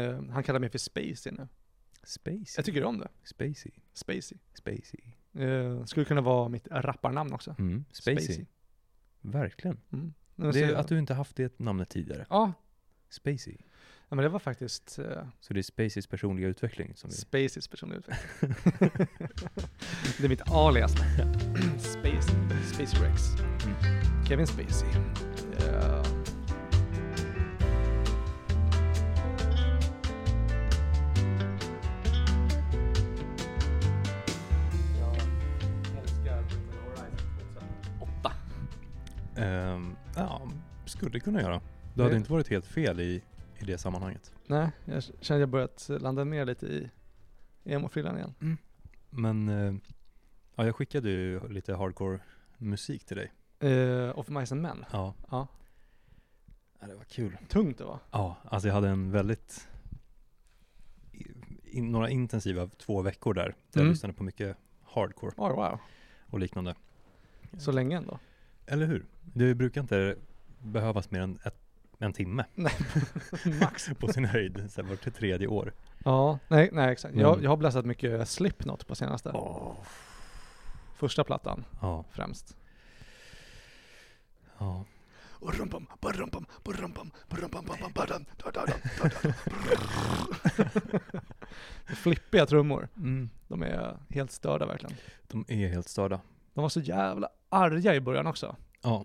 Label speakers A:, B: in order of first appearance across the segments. A: Eh, han kallar mig för Spacey nu.
B: Spacey.
A: Jag tycker om det.
B: Spacey.
A: Spacey.
B: Spacey.
A: Eh, skulle kunna vara mitt rapparnamn också.
B: Mm. Spacey. Verkligen.
A: Mm.
B: Det är att du inte haft det namnet tidigare.
A: Ja,
B: Spacey.
A: ja, men det var faktiskt eh,
B: Så det är Spaceys personliga utveckling som vi...
A: Spaceys personliga utveckling. det är mitt alias. Space, Space Rex. Kevin Spacey. Eh, Åtta.
B: Ehm, ja, skulle kunna göra. Du hade
A: Det-
B: inte varit helt fel i, i det sammanhanget.
A: Nej, jag känner att jag börjat landa ner lite i emo-frillan igen.
B: Men eh, ja, jag skickade ju lite hardcore musik till dig.
A: Uh, of Mice and Men.
B: Ja.
A: Ja.
B: ja, det var kul.
A: Tungt det var.
B: Ja, alltså jag hade en väldigt i- in- några intensiva två veckor där, där jag
A: Mm.
B: lyssnade på mycket hardcore
A: Oh, wow.
B: och liknande.
A: Så länge ändå.
B: Eller hur? Det brukar inte behövas mer än ett, en timme
A: Max.
B: på sin höjd, så här, vart tredje år.
A: Ja, nej, nej exakt. Jag,
B: Mm.
A: jag har bläsat mycket Slipknot på senaste. Första plattan
B: Ja,
A: främst.
B: ja.
A: Flippiga trummor.
B: Mm.
A: De är helt störda verkligen.
B: De är helt störda.
A: De var så jävla arga i början också.
B: Ja.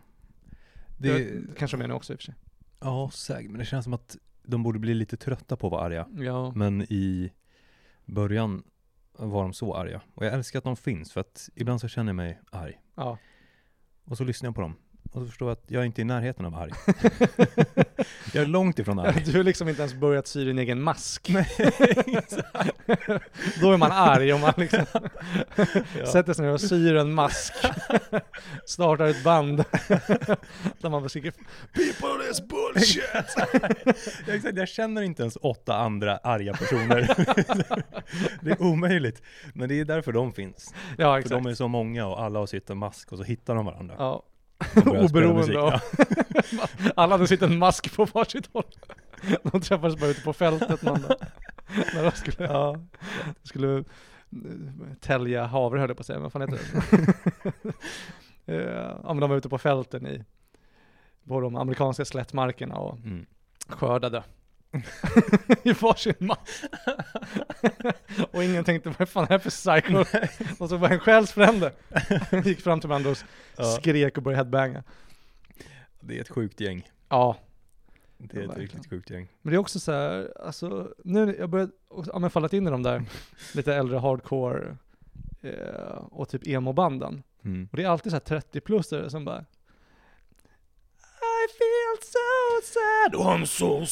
A: Det,
B: Det,
A: kanske de är nu också i och för sig.
B: ja, säkert. Men det känns som att de borde bli lite trötta på att vara arga.
A: Ja.
B: Men i början var de så arga. Och jag älskar att de finns, för att ibland så känner jag mig arg.
A: ja.
B: Och så lyssnar jag på dem. Och så förstår jag att jag inte är i närheten av arg. jag är långt ifrån arg.
A: Du har liksom inte ens börjat sy din egen mask. Då är man arg om man liksom sätter sig ner och syr en mask. Startar ett band. Där man försöker... People is bullshit!
B: Ja, exakt, jag känner inte ens åtta andra arga personer. det är omöjligt. Men det är därför de finns.
A: Ja,
B: För
A: exakt.
B: de är så många och alla har sitt en mask och så hittar de varandra.
A: Ja.
B: och börjar spela musik.
A: Oberoende av. Alla hade sitt en mask på varsitt håll. De träffades bara ute på fältet man, när de skulle,
B: Ja.
A: skulle eh, tälja havre höll jag på att säga, men vad fan heter det? Eh, ja men de var ute på fälten i, på de amerikanska slättmarkerna och
B: Ja. Mm.
A: skördade. I varsin mask. och ingen tänkte vad fan är det här för psycho? De såg bara en själsfrände. Gick fram till varandra och
B: Ja,
A: skrek och började headbanga.
B: det är ett sjukt gäng.
A: Ja, Ja,
B: Det är ett
A: verkligen.
B: riktigt sjukt gäng.
A: Men det är också så här, alltså, nu när jag börjat, ja men fallit in i de där lite äldre hardcore eh, och typ emo-banden.
B: Mm.
A: Och det är alltid så här 30-plussare som bara I feel so sad, I'm so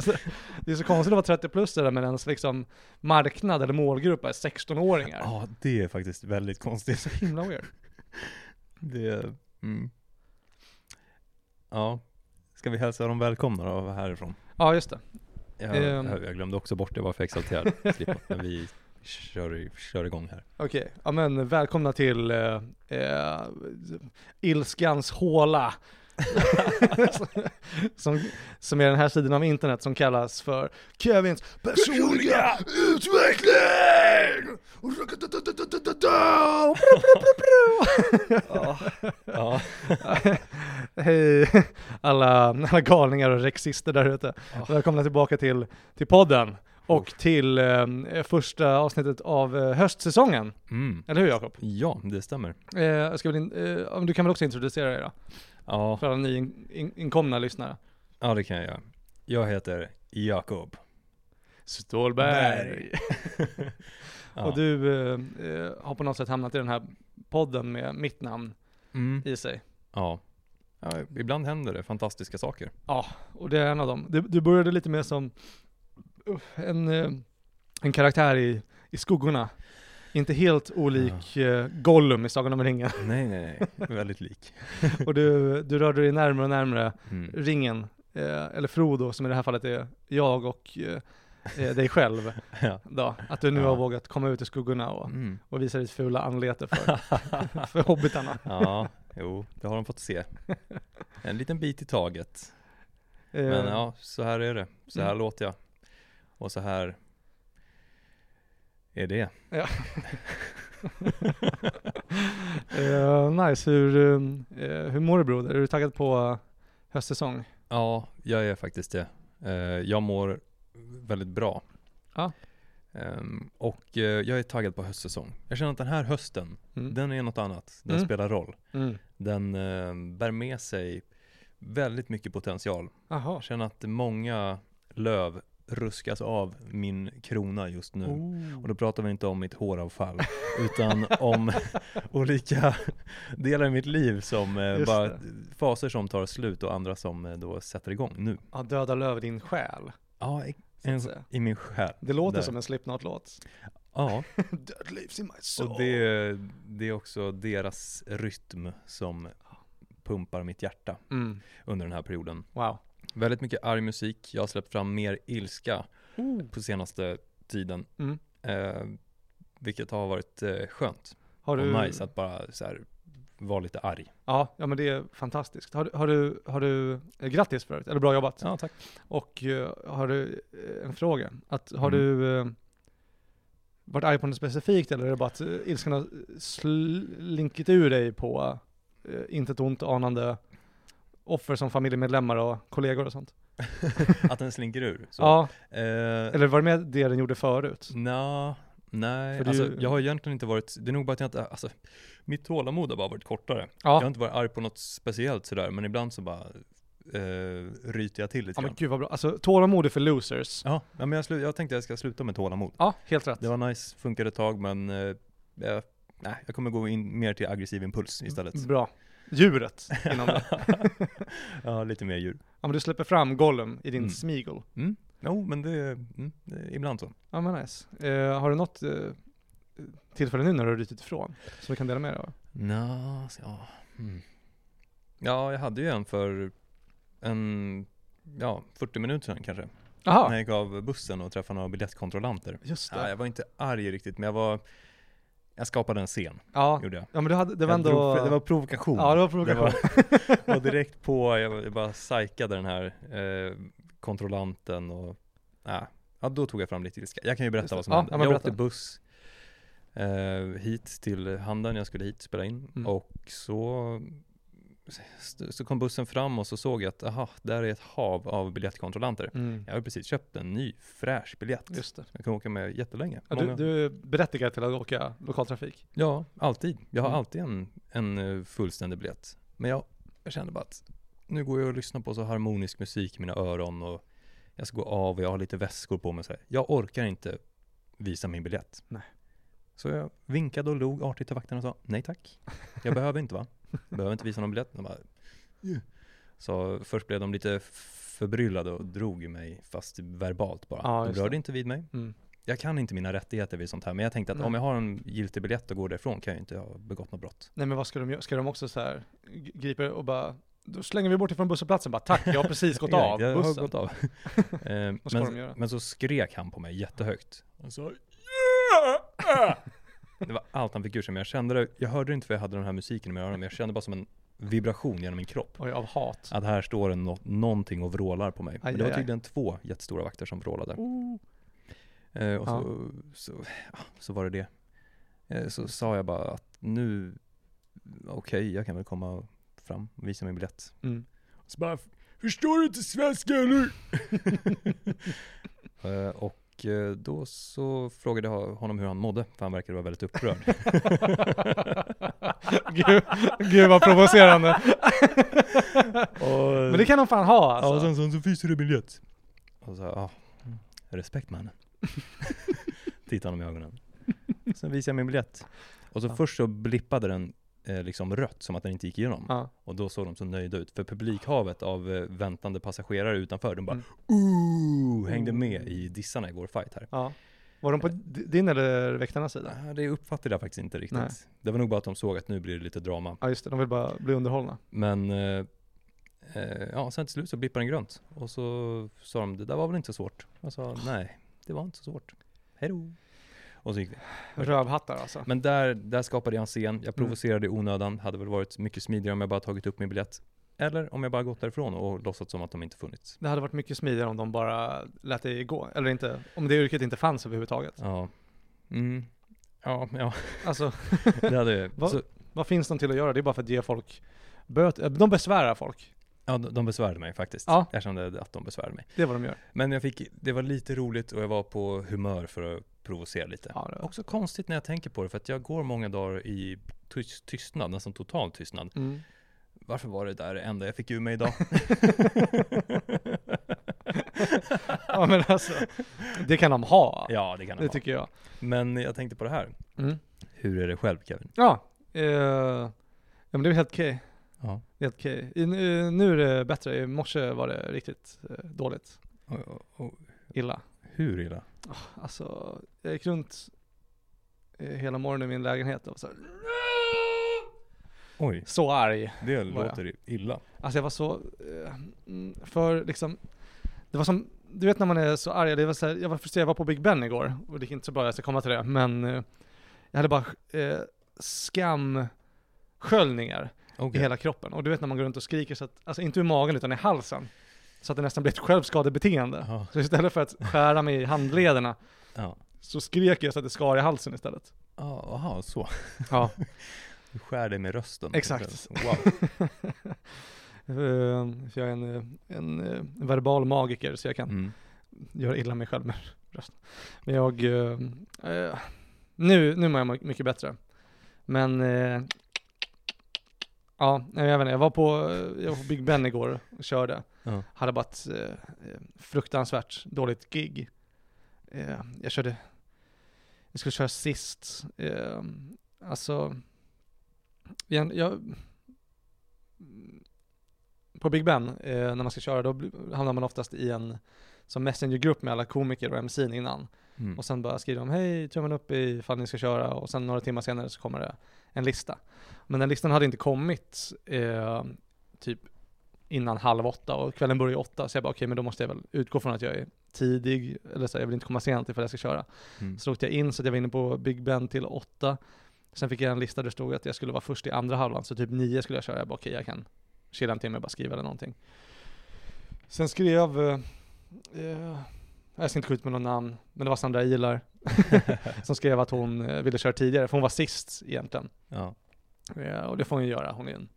A: sad. det är så konstigt att vara 30-plussare men ens liksom marknad eller målgrupp är 16-åringar.
B: Ja, det är faktiskt väldigt konstigt.
A: Himla weird.
B: Det är, mm. Ja, ska vi hälsa dem välkomna då härifrån?
A: Ja just det.
B: Jag,
A: Ehm.
B: jag, jag glömde också bort det, jag var för exalterad. Slippa, men vi kör, i- kör igång här.
A: Okej, ja men välkomna till eh, eh, ilskans håla. som, som är den här sidan av internet som kallas för Kevins personliga utveckling!
B: Ja.
A: Hej alla, alla galningar och rexister där ute.
B: Ah.
A: Välkomna tillbaka till, till podden och till eh, första avsnittet av eh, höstsäsongen.
B: Mm.
A: Eller hur Jakob?
B: ja, det stämmer.
A: Eh, jag ska väl in, eh, ja, men du kan väl också introducera dig då?
B: Ja,
A: För alla nyinkomna lyssnare.
B: ja, det kan jag göra. Jag heter Jakob.
A: Stålberg.
B: Ja.
A: Och du eh, eh, har på något sätt hamnat i den här podden med mitt namn
B: Mm.
A: i sig.
B: Ja. ja, ibland händer det fantastiska saker.
A: Ja, och det är en av dem. Du, du började lite mer som uff, en, eh, en karaktär i, i skuggorna. Inte helt olik eh, Gollum i Sagan om ringen.
B: Nej, nej, nej. Väldigt lik.
A: Och du, du rörde dig närmare och närmare
B: Mm.
A: ringen, eh, eller Frodo som i det här fallet är jag och eh, eh, dig själv.
B: Ja.
A: Då. Att du nu
B: Ja.
A: har vågat komma ut i skuggorna och,
B: Mm.
A: och visa ditt fula anlete för, för hobbitarna.
B: Ja, jo, det har de fått se. En liten bit i taget.
A: Eh,
B: Men ja, så här är det. Så här
A: Mm.
B: låter jag. Och så här är det.
A: eh, nice, hur, eh, hur mår du broder? Är du taggad på eh, höstsäsong?
B: Ja, jag är faktiskt det. Eh, Jag mår väldigt bra.
A: Ja.
B: Ehm, Och eh, jag är taggad på höstsäsong. Jag känner att den här hösten,
A: Mm.
B: den är något annat. Den
A: Mm.
B: spelar roll.
A: Mm.
B: Den eh, bär med sig väldigt mycket potential.
A: Aha.
B: Jag känner att många löv ruskas av min krona just nu.
A: Oh.
B: Och då pratar vi inte om mitt håravfall, utan om olika delar i mitt liv som eh,
A: Just
B: bara
A: det.
B: faser som tar slut och andra som eh, då sätter igång nu.
A: Ja, döda löv i din själ.
B: Ja,
A: Så att säga.
B: i min själ.
A: Det låter
B: Där.
A: som en Slipknot-låt.
B: Ja,
A: Död lives in my soul.
B: och det, det är också deras rytm som pumpar mitt hjärta
A: Mm.
B: under den här perioden.
A: Wow.
B: Väldigt mycket arg musik, jag har släppt fram mer ilska
A: Oh.
B: på senaste tiden.
A: Mm.
B: Eh, vilket har varit eh, skönt
A: Har du...
B: och nice att bara så här, vara lite arg.
A: Ja, ja, men det är fantastiskt. Har, du- har du, har du, eh, grattis för övrigt, eller bra jobbat.
B: Ja, tack.
A: Och eh, har du eh, en fråga? Att, har
B: Mm.
A: du eh, varit arg på något specifikt eller är det bara att eh, ilskan har slinkit ur dig på eh, inte ett ont anande offer som familjemedlemmar och kollegor och sånt?
B: Att den slinker ur. Så.
A: Ja,
B: Eh,
A: eller var det med det den gjorde förut?
B: Nja, nej,
A: För det är
B: alltså,
A: ju-
B: jag har egentligen inte varit, det är nog bara att jag inte, alltså, mitt tålamod har bara varit kortare. Jag har
A: Ja,
B: inte varit arg på något speciellt sådär, men ibland så bara eh, ryter jag till lite
A: ja men
B: grann.
A: gud vad bra. Alltså tålamod är för losers.
B: Ja, ja, men jag, slu- jag tänkte jag ska sluta med tålamod.
A: Ja, helt rätt.
B: Det var nice, funkade ett tag, men eh, jag, nej, jag kommer gå in mer till aggressiv impuls istället.
A: Bra. Djuret inom Mm, det.
B: ja, lite mer djur.
A: Ja men du släpper fram Gollum i din
B: Mm.
A: Smeagol.
B: Mm. Jo, men det, mm, det är ibland så.
A: Ja men nice. Eh, har du något eh, tillfälle nu när du har rytit ifrån? Som du kan dela med dig av?
B: Nå, så- ja.
A: hmm.
B: Mm. Ja, jag hade ju en för en, ja, 40 minuter sedan kanske.
A: Jaha,
B: När jag gick av bussen och träffade några biljettkontrollanter.
A: just det.
B: Ja, jag var inte arg riktigt, men jag var, jag skapade en scen,
A: Ja,
B: gjorde jag.
A: ja men du hade, det var
B: jag
A: ändå...
B: drog, för- det var provokation.
A: ja, det var
B: Det
A: provokation.
B: var, var direkt på, jag, var- jag bara psykade den här eh, kontrollanten och äh, ja, då tog jag fram lite ilska. Jag kan ju
A: Just det.
B: berätta vad som
A: Ja,
B: hände.
A: ja,
B: Jag
A: men
B: åkte
A: berätta.
B: buss eh, hit till Handan, jag skulle hit spela in
A: Mm.
B: och så, så kom bussen fram och så såg jag att aha, där är ett hav av biljettkontrollanter.
A: Mm.
B: Jag har precis köpt en ny fräsch biljett.
A: Just det.
B: Jag kan åka med jättelänge.
A: Ja, du,
B: Många-
A: du är berättigad till att åka lokaltrafik.
B: Ja, alltid. Jag har
A: Mm.
B: alltid en, en eh, fullständig biljett. Men jag, jag kände bara att nu går jag och lyssnar på så harmonisk musik i mina öron och jag ska gå av och jag har lite väskor på mig. Så här. Jag orkar inte visa min biljett.
A: Nej.
B: Så jag vinkade och log artigt till vakten och sa nej tack. Jag behöver inte va? Behöver inte visa någon biljett. De bara, "Ja." så först blev de lite förbryllade och drog i mig fast verbalt bara.
A: Ja,
B: de
A: just
B: rörde
A: det.
B: inte vid mig
A: Mm.
B: jag kan inte mina rättigheter vid sånt här, men jag tänkte att
A: Nej.
B: om jag har en giltig biljett och går därifrån kan jag ju inte ha begått något brott.
A: Nej men vad ska de göra? Ska de också så här g- gripa er och bara, då slänger vi bort ifrån busshållplatsen bara tack, jag har precis gått av
B: jag
A: bussen.
B: har gått av. Eh,
A: Vad ska de göra?
B: men, men så skrek han på mig jättehögt. Han sa "Ja!" Det var allt han fick ur sig, men jag kände det, jag hörde det inte för jag hade den här musiken i mina öron, men jag kände bara som en vibration genom min kropp.
A: Oj, av hat.
B: Att här står det nå- någonting och vrålar på mig.
A: Aj,
B: Men det var
A: aj, aj.
B: tydligen två jättestora vakter som vrålade.
A: Oh.
B: Eh, och
A: Ja.
B: så, så, ja, så var det det. Eh, så sa jag bara att nu, okej, jag kan väl komma fram och visa min biljett.
A: Mm.
B: Så bara, förstår du inte svenska eller? eh, och eh, då så frågade jag honom hur han mådde, för han verkade vara väldigt upprörd.
A: gud, gud vad provocerande.
B: och,
A: Men det kan de fan ha alltså. Mm.
B: Ja, och sen så, så fiser du biljett. Och så, ja, respekt mannen. Tittar honom i ögonen. Sen visar jag min biljett. Och så
A: Ja.
B: först så blippade den eh, liksom rött, som att den inte gick igenom.
A: Ja.
B: Och då såg de så nöjda ut. För publikhavet av eh, väntande passagerare utanför, de bara
A: Mm.
B: ooh, hängde med i dissarna i vår fight här.
A: Ja. Var de på d- din eller väktarnas sida?
B: Nej, Det uppfattade jag faktiskt inte riktigt.
A: Nej.
B: Det var nog bara att de såg att nu blir det lite drama.
A: Ja just det, de vill bara bli underhållna.
B: Men eh, eh, ja, sen till slut så blippade den grönt. Och så sa de, det där var väl inte så svårt? Jag sa,
A: Oh.
B: nej, det var inte så svårt. Hejdå. Och så gick vi.
A: Rövhattar alltså.
B: Men
A: Mm.
B: där, där skapade jag en scen. Jag provocerade i onödan. Hade väl varit mycket smidigare om jag bara tagit upp min biljett. Eller om jag bara gått därifrån och låtsats som att de inte funnits.
A: Det hade varit mycket smidigare om de bara lät dig gå, eller inte, om det yrket inte fanns överhuvudtaget.
B: Ja. Mm. Ja, ja.
A: Alltså,
B: Det hade,
A: Vad?
B: så,
A: vad finns de till att göra? Det är bara för att ge folk böter, de besvärar folk.
B: ja, de de besvärade mig faktiskt.
A: Ja.
B: Jag kände att de besvärade mig.
A: Det är vad de gör.
B: Men jag fick, det var lite roligt och jag var på humör för att provocera lite.
A: Ja, det-
B: Också konstigt när jag tänker på det, för att jag går många dagar i tyst, tystnad, nästan total tystnad.
A: Mm.
B: Varför var det där det enda jag fick ur mig idag?
A: Ja men alltså, det kan de ha.
B: ja, det kan det,
A: det
B: vara.
A: tycker jag.
B: Men jag tänkte på det här.
A: Mm.
B: Hur är det själv Kevin?
A: Ja, eh, ja men det är väl helt okej.
B: Ja.
A: Helt okej. I- nu- Nu är det bättre, i morse var det riktigt eh, dåligt.
B: Och, och, och,
A: Illa.
B: hur illa?
A: Alltså, jag gick runt eh, hela morgonen i min lägenhet och var så, här,
B: Oj,
A: så arg.
B: det
A: Vad är-
B: låter illa.
A: Alltså jag var så, eh, mm, för liksom, det var som, du vet när man är så arg, det var så här, jag var frustrerad, jag var på Big Ben igår och det gick inte så bra, jag ska komma till det, men eh, jag hade bara eh, skamsköljningar i
B: Okej.
A: hela kroppen. Och du vet när man går runt och skriker, så att, alltså inte ur magen utan i halsen, så att det nästan blir ett självskadebeteende.
B: Ja.
A: Så istället för att skära mig i handlederna
B: Ja.
A: så skrek jag så att det skar i halsen istället.
B: Ja, Jaha, så.
A: Ja.
B: Du skär dig med rösten.
A: Exakt.
B: Wow.
A: Eh, för jag är en, eh, en eh, verbal magiker så jag kan
B: Mm.
A: göra illa mig själv med rösten. Men jag, eh, eh, nu, nu mår jag my- mycket bättre. Men, eh, ja, nej, jag vet inte, jag var på, eh, jag var på Big Ben igår och körde.
B: Ja.
A: Hade bara ett eh, eh, fruktansvärt dåligt gig. Eh, jag körde, jag skulle köra sist. Eh, alltså, igen, jag, på Big Ben, eh, när man ska köra, då bli- hamnar man oftast i en som messengergrupp med alla komiker och MC'n innan.
B: Mm.
A: Och sen bara skriver de hej, tummen upp ifall ni ska köra och sen några timmar senare så kommer det en lista. Men den listan hade inte kommit eh, typ innan halv åtta och kvällen börjar ju åtta så jag bara okej men då måste jag väl utgå från att jag är tidig eller så här, jag vill inte komma sent ifall jag ska köra.
B: Mm.
A: Så åkte jag in så att jag var inne på Big Ben till åtta. Sen fick jag en lista där det stod att jag skulle vara först i andra halvan, så typ nio skulle jag köra. Jag bara okej, jag kan chilla en timme och bara skriva eller någonting. Sen skrev, eh, eh, jag ska inte gå ut med något namn, men det var Sandra Ilar som skrev att hon eh, ville köra tidigare, för hon var sist egentligen.
B: Ja.
A: Eh, och det får hon ju göra, hon är en,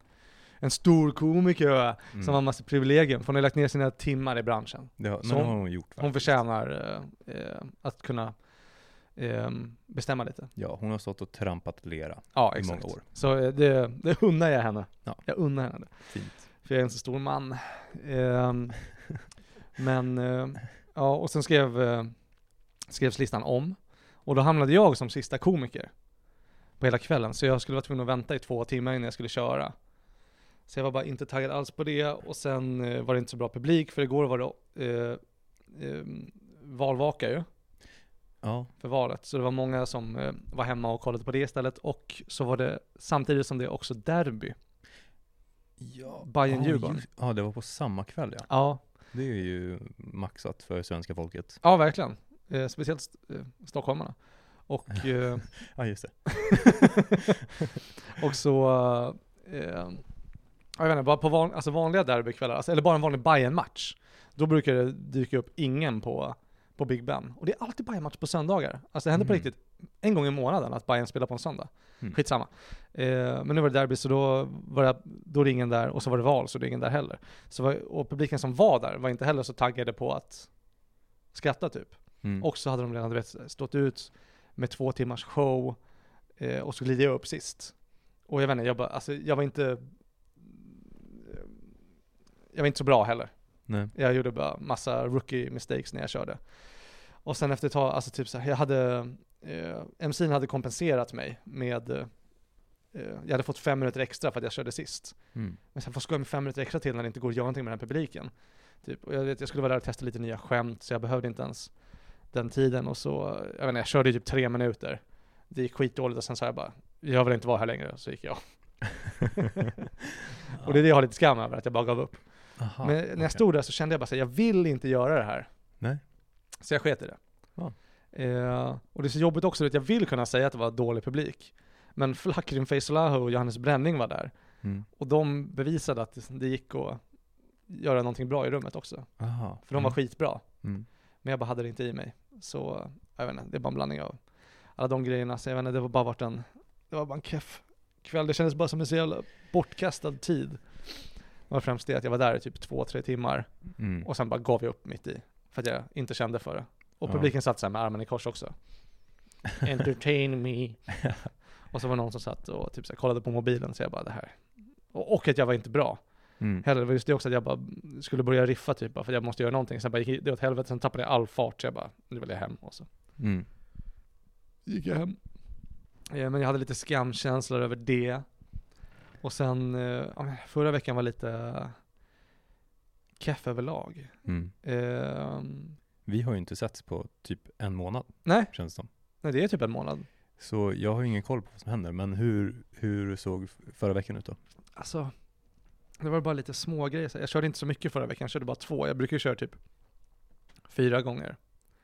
A: en stor komiker
B: Mm.
A: som har massa privilegium, för hon har lagt ner sina timmar i branschen.
B: det har, men
A: som-
B: det har hon gjort
A: Hon
B: faktiskt.
A: förtjänar eh, eh, att kunna eh, bestämma lite.
B: Ja, hon har stått och trampat lera.
A: Ja,
B: i många
A: exakt.
B: år.
A: Så eh, det, det unnar jag henne.
B: Ja.
A: Jag unnar henne det.
B: Fint.
A: För jag är en så stor man. Ehm, men, eh, ja, och sen skrev, eh, skrevs listan om. Och då hamnade jag som sista komiker på hela kvällen. Så jag skulle vara tvungen att vänta i två timmar innan jag skulle köra. Så jag var bara inte taggad alls på det. Och sen eh, var det inte så bra publik, för igår var det eh, eh, valvaka ju
B: Ja.
A: för valet. Så det var många som eh, var hemma och kollade på det istället. Och så var det, samtidigt som det också derby.
B: ja.
A: Bayern-Djurgården.
B: just- Ja, det var på samma kväll ja.
A: Ja,
B: Det är ju maxat för svenska folket.
A: ja verkligen. Eh, speciellt st- eh, stockholmarna. Och, eh,
B: Ja, just det.
A: och så, eh, jag vet inte, bara på van, alltså vanliga derbykvällar, alltså, eller bara en vanlig Bayern-match, då brukar det dyka upp ingen på, på Big Ben. Och det är alltid Bayern-match på söndagar. Alltså det händer på
B: Mm.
A: riktigt en gång i månaden att Bayern spelar på en söndag.
B: Mm.
A: Skitsamma. Eh, men nu var det derby, så då var det, då var det ingen där, och så var det val, så det är ingen där heller. Så var, och publiken som var där var inte heller så taggade på att skratta typ.
B: Mm.
A: Och så hade de redan du vet, stått ut med två timmars show eh, och så glider jag upp sist. Och jag vet inte, jag, bara, alltså, jag var inte... Jag var inte så bra heller.
B: Nej.
A: Jag gjorde bara massa rookie mistakes när jag körde. Och sen efter ett tag, alltså typ så här, jag hade... Eh, MC'n hade kompenserat mig med... Eh, jag hade fått fem minuter extra för att jag körde sist.
B: Mm.
A: Men sen, vad ska jag med fem minuter extra till när det inte går att göra någonting med den här publiken? Typ. Och jag, vet, jag skulle vara där och testa lite nya skämt, så jag behövde inte ens den tiden. Och så, jag vet inte, jag körde ju typ tre minuter. Det gick skitdåligt och sen sa jag bara, jag vill inte vara här längre, så gick jag. Och det är det jag har lite skam över, att jag bara gav upp.
B: Aha,
A: Men när
B: okej.
A: jag stod där så kände jag bara så här, jag vill inte göra det här.
B: Nej.
A: Så jag sket i det.
B: Ja.
A: Eh, och det är så jobbigt också, att jag vill kunna säga att det var dålig publik. Men Flackrin Faisalaho och Johannes Bränning var där.
B: Mm.
A: Och de bevisade att det- det gick att göra någonting bra i rummet också.
B: Aha.
A: För de var
B: Mm.
A: skitbra.
B: Mm.
A: Men jag bara hade det inte i mig. Så jag vet inte, det är bara en blandning av alla de grejerna. Så jag vet inte, det var bara varit en, det var bara en keff kväll. Det kändes bara som en så jävla bortkastad tid. Det var främst det att jag var där i typ två, tre timmar
B: Mm.
A: och sen bara gav jag upp mitt i. För att jag inte kände för det. Och
B: Ja.
A: publiken satt så här med armen i kors också. Entertain me. och så var det någon som satt och typ så här kollade på mobilen så jag bara det här. Och, och att jag var inte bra.
B: Mm.
A: Heller, det var just det också att jag bara skulle börja riffa typ, bara för att jag måste göra någonting. Sen bara gick det åt helvete, sen tappade jag all fart, så jag bara, nu vill jag hem. Och så
B: Mm.
A: gick jag hem. Eh, Men jag hade lite skamkänslor över det. Och sen, eh, ja, men förra veckan var lite keff överlag.
B: Mm.
A: Eh,
B: Vi har ju inte setts på typ en månad,
A: Nej.
B: känns det som.
A: nej, det är typ en månad.
B: Så jag har ju ingen koll på vad som händer, men hur, hur såg f- förra veckan ut då?
A: Alltså, det var bara lite små grejer. så här. Jag körde inte så mycket förra veckan, jag körde bara två. Jag brukar ju köra typ fyra gånger.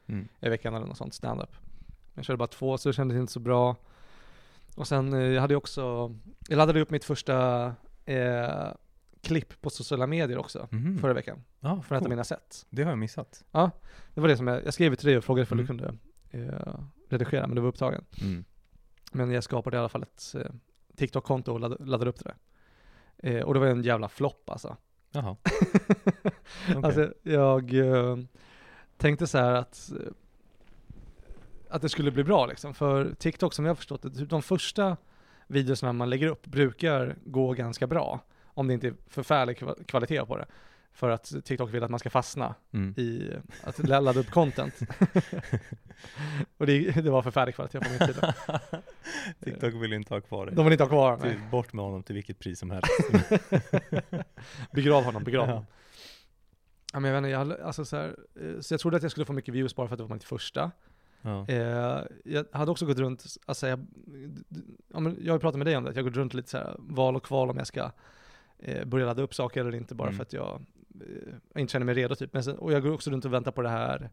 B: Mm.
A: i veckan eller något sånt, stand-up. Men Jag körde bara två, så det kändes inte så bra. Och sen, eh, jag hade ju också, jag laddade upp mitt första eh, klipp på sociala medier också,
B: Mhm.
A: förra veckan,
B: Ja,
A: från ett av
B: coolt.
A: mina set.
B: Det har jag missat.
A: Det var det som jag, jag skrev till dig och frågade om
B: Mm.
A: du kunde eh, redigera, men du var upptagen.
B: Mm.
A: Men jag skapade i alla fall ett eh, TikTok-konto och laddade, laddade upp det där. Eh, och det var en jävla flopp alltså.
B: Jaha. Okej.
A: Alltså jag eh, tänkte så här att, eh, att det skulle bli bra liksom. För TikTok som jag har förstått det, typ de första videorna man lägger upp brukar gå ganska bra. Om det inte är förfärlig kva- kvalitet på det. För att TikTok vill att man ska fastna
B: mm.
A: i att lä- ladda upp content. Och det, det var förfärlig kvalitet på min tid.
B: TikTok vill inte ha kvar dig.
A: De vill inte ha kvar mig.
B: Till, bort med honom till vilket pris som helst.
A: Begrav honom, begrav
B: Ja.
A: honom. Ja, men jag vet inte, jag, hade- alltså så, här, eh, så jag trodde att jag skulle få mycket views bara för att det var mitt första.
B: ja.
A: Eh, jag hade också gått runt, alltså jag, d- d- ja, men jag har ju pratat med dig om det, att jag har gått runt lite så här val och kval om jag ska eh, börja ladda upp saker eller inte bara
B: Mm.
A: för att jag eh, inte känner mig redo typ. Men sen, och jag går också runt och väntar på det här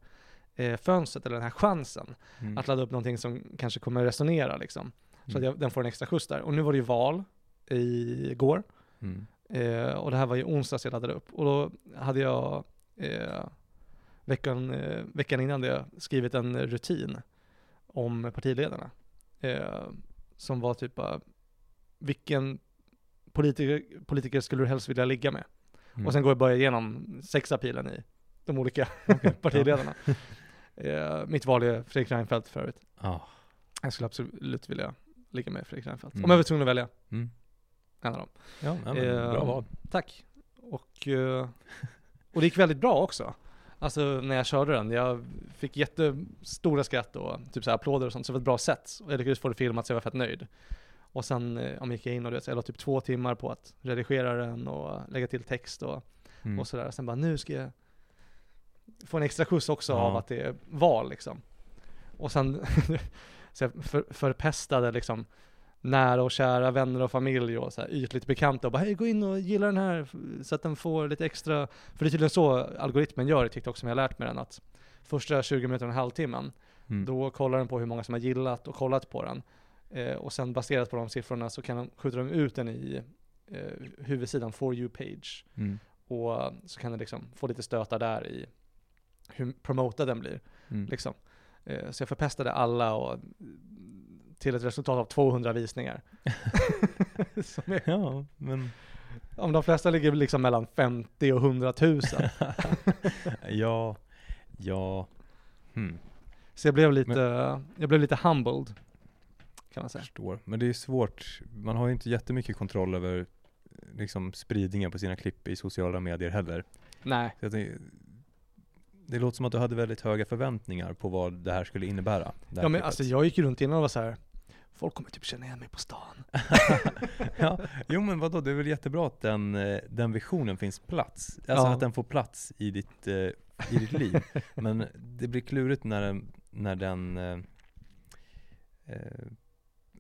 A: eh, fönstret eller den här chansen
B: Mm.
A: att ladda upp någonting som kanske kommer resonera liksom. Så att jag, den får en extra skjuts där. Och nu var det ju val igår.
B: Mm.
A: Eh, och det här var ju onsdags jag laddade upp. Och då hade jag eh, veckan, eh, veckan innan det skrivit en rutin om partiledarna. Eh, som var typ bara, vilken politiker, politiker skulle du helst vilja ligga med?
B: Mm.
A: Och sen går jag bara igenom sexapilen i de olika
B: Okej.
A: partiledarna. Eh, mitt val är Fredrik Reinfeldt för övrigt.
B: Ja.
A: Jag skulle absolut vilja ligga med Fredrik Reinfeldt.
B: Mm.
A: Om jag var tvungen att välja
B: Mm.
A: en av dem.
B: Ja, nej, men,
A: Eh,
B: bra val.
A: Tack. Och, eh, och det gick väldigt bra också. Alltså när jag körde den, jag fick jättestora skratt och typ så här applåder och sånt, så det var ett bra sätt. Och jag lyckades få det filmat så jag var fett nöjd. Och sen eh, ja, men gick jag in och du vet, jag la typ två timmar på att redigera den och lägga till text och,
B: Mm.
A: och sådär. Sen bara nu ska jag få en extra skjuts också
B: Ja.
A: av att det är val liksom. Och sen så jag för, förpestade liksom nära och kära vänner och familj och så här ytligt bekanta och bara hej gå in och gilla den här f- så att den får lite extra, för det är tydligen så algoritmen gör i TikTok som jag har lärt mig den att första 20 minuterna, en halvtimmen,
B: Mm.
A: då kollar den på hur många som har gillat och kollat på den eh, och sen baserat på de siffrorna så kan de, skjuter de ut den i eh, huvudsidan for you page
B: Mm.
A: och så kan den liksom få lite stötar där i hur promotad den blir
B: Mm.
A: liksom. Eh, Så jag förpestade alla och till ett resultat av 200 visningar. Som är,
B: Ja, men
A: om de flesta ligger liksom mellan 50 och 100 000.
B: ja, ja. Hmm.
A: Så jag blev lite, jag blev lite humbled. Kan man säga.
B: Förstår. Men det är svårt. Man har ju inte jättemycket kontroll över eh, liksom, spridningen på sina klipp i sociala medier heller.
A: Nej.
B: Så att det, det låter som att du hade väldigt höga förväntningar på vad det här skulle innebära. det
A: Ja,
B: här
A: men
B: klippet.
A: alltså jag gick ju runt innan och var så här. folk kommer typ känna igen mig på stan.
B: ja, jo men vadå, det är väl jättebra att den, eh, den visionen finns plats. Alltså
A: Ja.
B: att den får plats i ditt, eh, i ditt liv. Men det blir klurigt när den, när den eh, eh,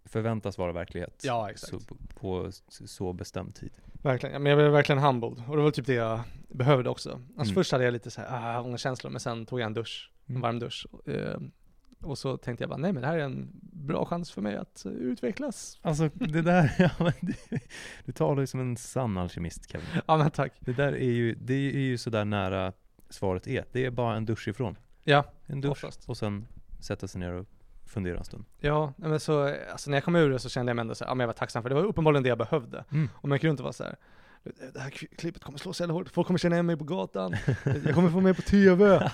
B: förväntas vara verklighet.
A: Ja,
B: Så, på, på s- så bestämd tid.
A: Verkligen, ja, men jag blev verkligen humbled. Och det var typ det jag behövde också. Alltså
B: Mm.
A: först hade jag lite så här, ah, ångestkänslor, men sen tog jag en dusch, en
B: Mm.
A: varm dusch. Eh, Och så tänkte jag bara, nej men det här är en bra chans för mig att eh, utvecklas.
B: Alltså det där, ja, men du, du talar ju som en sann alkemist Kevin.
A: Ja men tack.
B: Det där är ju, det är ju sådär nära svaret är. Det är bara en dusch ifrån.
A: Ja,
B: En dusch
A: oftast.
B: och sen sätta sig ner och fundera en stund.
A: Ja, nej, men så, eh, alltså när jag kom ur det så kände jag mig ändå så här, ja men jag var tacksam för det. Det var uppenbarligen det jag behövde.
B: Mm.
A: Och man kunde inte vara så här. Det här k- klippet kommer slå så jävla hårt, folk kommer känna igen mig på gatan, jag kommer få med på TV.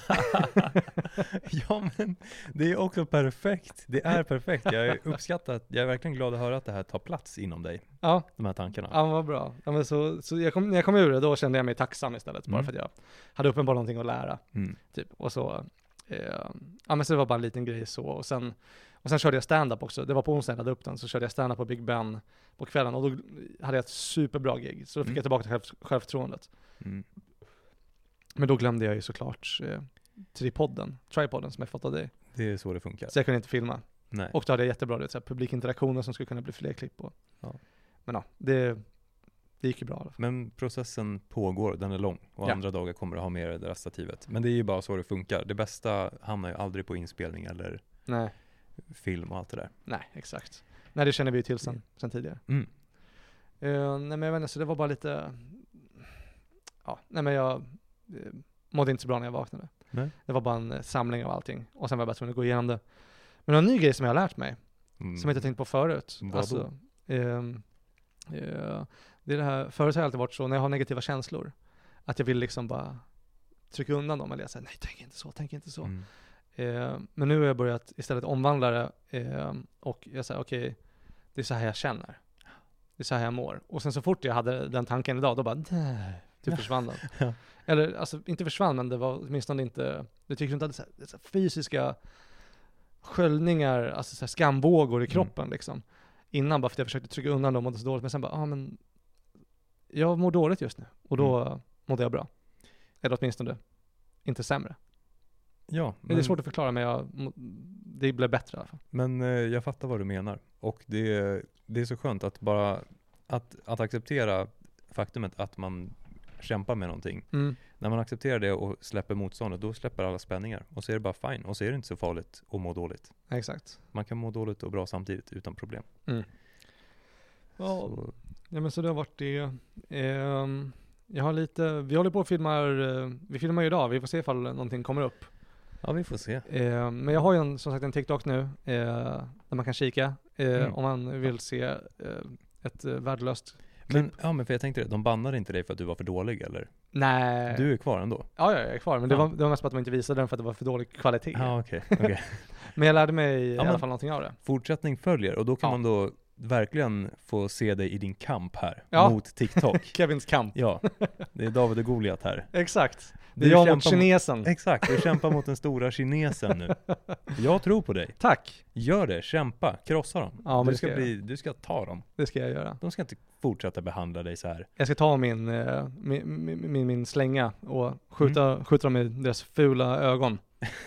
B: ja men det är också perfekt. Det är perfekt. Jag uppskattar, att- jag är verkligen glad att höra att det här tar plats inom dig.
A: Ja,
B: De här tankarna.
A: ja men vad bra. Ja, men så, så jag kom, när jag kom ur det, då kände jag mig tacksam istället, bara
B: Mm.
A: för att jag hade uppenbarligen någonting att lära.
B: Mm.
A: Typ. Och så, eh, ja men så det var bara en liten grej så. Och sen, och sen körde jag stand-up också. Det var på onsdagen jag laddade upp den, så körde jag stand-up på Big Ben på kvällen och då hade jag ett superbra gig. Så då fick
B: Mm.
A: jag tillbaka till själv, självförtroendet.
B: Mm.
A: Men då glömde jag ju såklart eh, tripodden, tripoden som jag fått av dig.
B: Det är så det funkar.
A: Så jag kunde inte filma.
B: Nej.
A: Och då hade jag jättebra du vet, så här, publikinteraktioner som skulle kunna bli fler klipp och.
B: Ja.
A: Men ja, det, det gick ju bra i alla fall.
B: Men processen pågår, den är lång och
A: Ja.
B: andra dagar kommer du ha med dig det där stativet. Men det är ju bara så det funkar. Det bästa hamnar ju aldrig på inspelning eller
A: Nej,
B: film och allt det där.
A: nej exakt. Nej det känner vi ju till sen, sen tidigare.
B: Mm.
A: Eh, nej men jag vet inte, så det var bara lite... Ja, nej men jag eh, mådde inte så bra när jag vaknade.
B: Nej.
A: Det var bara en eh, samling av allting. Och sen var jag bara tvungen att gå igenom det. Men en ny grej som jag har lärt mig,
B: Mm.
A: som jag inte tänkt på förut.
B: Vadå?
A: ehm, eh, det är det här, förut har jag alltid varit så, när jag har negativa känslor, att jag vill liksom bara trycka undan dem. Eller jag säger nej, tänk inte så, tänk inte så.
B: Mm.
A: Eh, men nu har jag börjat istället omvandla det eh, och jag säger okej, det är så här jag känner. Det är så här jag mår. Och sen så fort jag hade den tanken idag, då bara "Nej", typ försvann den.
B: Ja.
A: Eller alltså inte försvann, men det var åtminstone inte, det tyckte inte att det, är så här, det är så här fysiska sköljningar, alltså så här skamvågor i
B: Mm.
A: kroppen liksom. Innan bara för att jag försökte trycka undan dem och mådde så dåligt, men sen bara, ja ah, men jag mår dåligt just nu. Och då
B: Mm.
A: mådde jag bra. Eller åtminstone inte sämre.
B: Ja,
A: Men, det är
B: men-
A: svårt att förklara men jag, må- det blev bättre i alla fall.
B: Men eh, jag fattar vad du menar. Och det, det är så skönt att bara att, att acceptera faktumet att man kämpar med någonting.
A: Mm,
B: När man accepterar det och släpper motståndet, då släpper alla spänningar. Och så är det bara fine. Och så är det inte så farligt att må dåligt.
A: Exakt.
B: Man kan må dåligt och bra samtidigt utan problem.
A: Ja,
B: Så,
A: ja, men så det har varit det. Ehm, jag har lite, vi håller på och filmar, eh, vi filmar ju idag, vi får se ifall någonting kommer upp.
B: ja, vi får se.
A: Ehm, men jag har ju en, som sagt en TikTok nu, eh, där man kan kika eh,
B: Mm.
A: om man vill se eh, ett eh, värdelöst
B: Men, ja, men för jag tänkte det, de bannade inte dig för att du var för dålig eller?
A: Nej.
B: Du är kvar ändå?
A: Ja, ja, jag är kvar. Men det,
B: Ja.
A: var, det var mest bara att de inte visade den för att det var för dålig kvalitet.
B: Ja, okej. okej.
A: Men jag lärde mig i alla
B: men-
A: fall någonting av det.
B: Fortsättning följer och då kan
A: Ja.
B: man då verkligen få se dig i din kamp här
A: Ja.
B: mot TikTok.
A: Kevins kamp.
B: Ja, det är David och Goliat här.
A: Exakt. Det är
B: Du
A: jag mot
B: kämpar mot-
A: kinesen.
B: Exakt, du kämpar mot den stora kinesen nu. Jag tror på dig.
A: Tack.
B: Gör det, kämpa, krossa dem.
A: Ja, men
B: du,
A: det
B: ska
A: ska jag
B: bli, du ska ta dem.
A: Det ska jag göra.
B: De ska inte fortsätta behandla dig så här.
A: Jag ska ta min, eh, min, min, min, min slänga och skjuta, skjuta dem i deras fula ögon.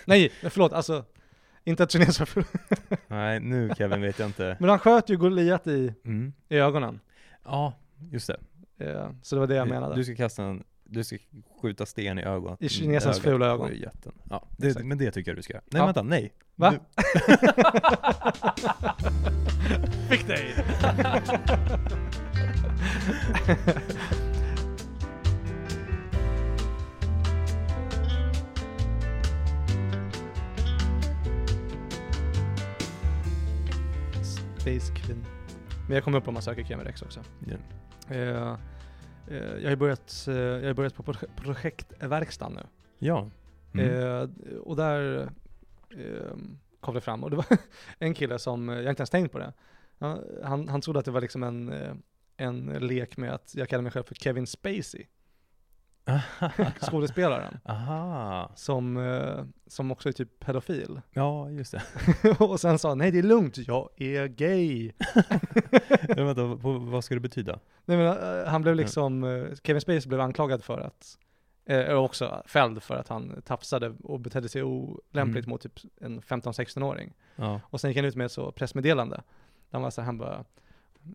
A: Nej, men förlåt, alltså inte att kineser var fula.
B: Nej, nu Kevin vet jag inte.
A: Men han sköt ju Goliat i,
B: Mm.
A: i ögonen.
B: Ja, just det.
A: Eh, så det var det jag
B: Du
A: menade.
B: ska kasta en, du ska skjuta sten i ögonen.
A: I kinesens
B: ögat
A: fula
B: på
A: ögon.
B: jätten. Ja, det,
A: Exakt.
B: men det tycker jag du ska göra. Nej
A: Ja.
B: vänta, nej.
A: Va?
B: Du,
A: Fick dig! Space Queen. Men jag kommer upp om man söker Kemi Rex också.
B: ja.
A: Eh, eh, jag har ju börjat, eh, jag har ju börjat på proje- projektverkstan nu.
B: ja. Mm.
A: Eh, och där eh, kom det fram, och det var en kille som, eh, jag har inte ens tänkt på det, han, han, han trodde att det var liksom en, eh, en lek med att jag kallar mig själv för Kevin Spacey, skådespelaren,
B: Aha.
A: som, eh, som också är typ pedofil.
B: Ja, just det.
A: och sen sa han, nej det är lugnt, jag är gay.
B: Men vänta, vad, vad ska det betyda?
A: Nej, men, eh, han
B: Mm.
A: blev liksom, eh, Kevin Spacey blev anklagad för att, eh, och också fälld för att han tafsade och betedde sig olämpligt
B: Mm.
A: mot typ en 15-16-åring.
B: Ja.
A: Och sen gick han ut med ett så pressmeddelande. Där han, var så här, han bara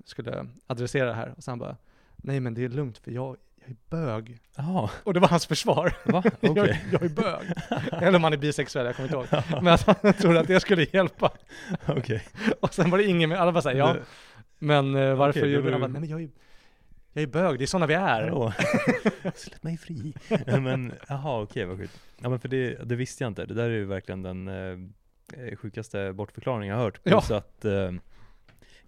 A: skulle adressera det här och sen bara, nej men det är lugnt för jag, jag jag är bög.
B: Jaha,
A: Och det var hans försvar.
B: va? Okej.
A: Jag, jag är bög. Eller om han är bisexuell, jag kommer inte ihåg. Men att han trodde att det skulle hjälpa.
B: Okej.
A: Och sen var det ingen med, alla bara såhär, ja,
B: Det-
A: men eh, varför
B: Okej, det
A: gjorde
B: var
A: du? Han
B: ju-
A: bara, nej men jag är, jag är bög, det är sådana vi är.
B: Hallå? Släpp mig fri. Nej, men jaha, okej vad sjukt. Ja men för det, det visste jag inte. Det där är ju verkligen den eh, sjukaste bortförklaringen jag har hört.
A: Ja.
B: Plus att eh,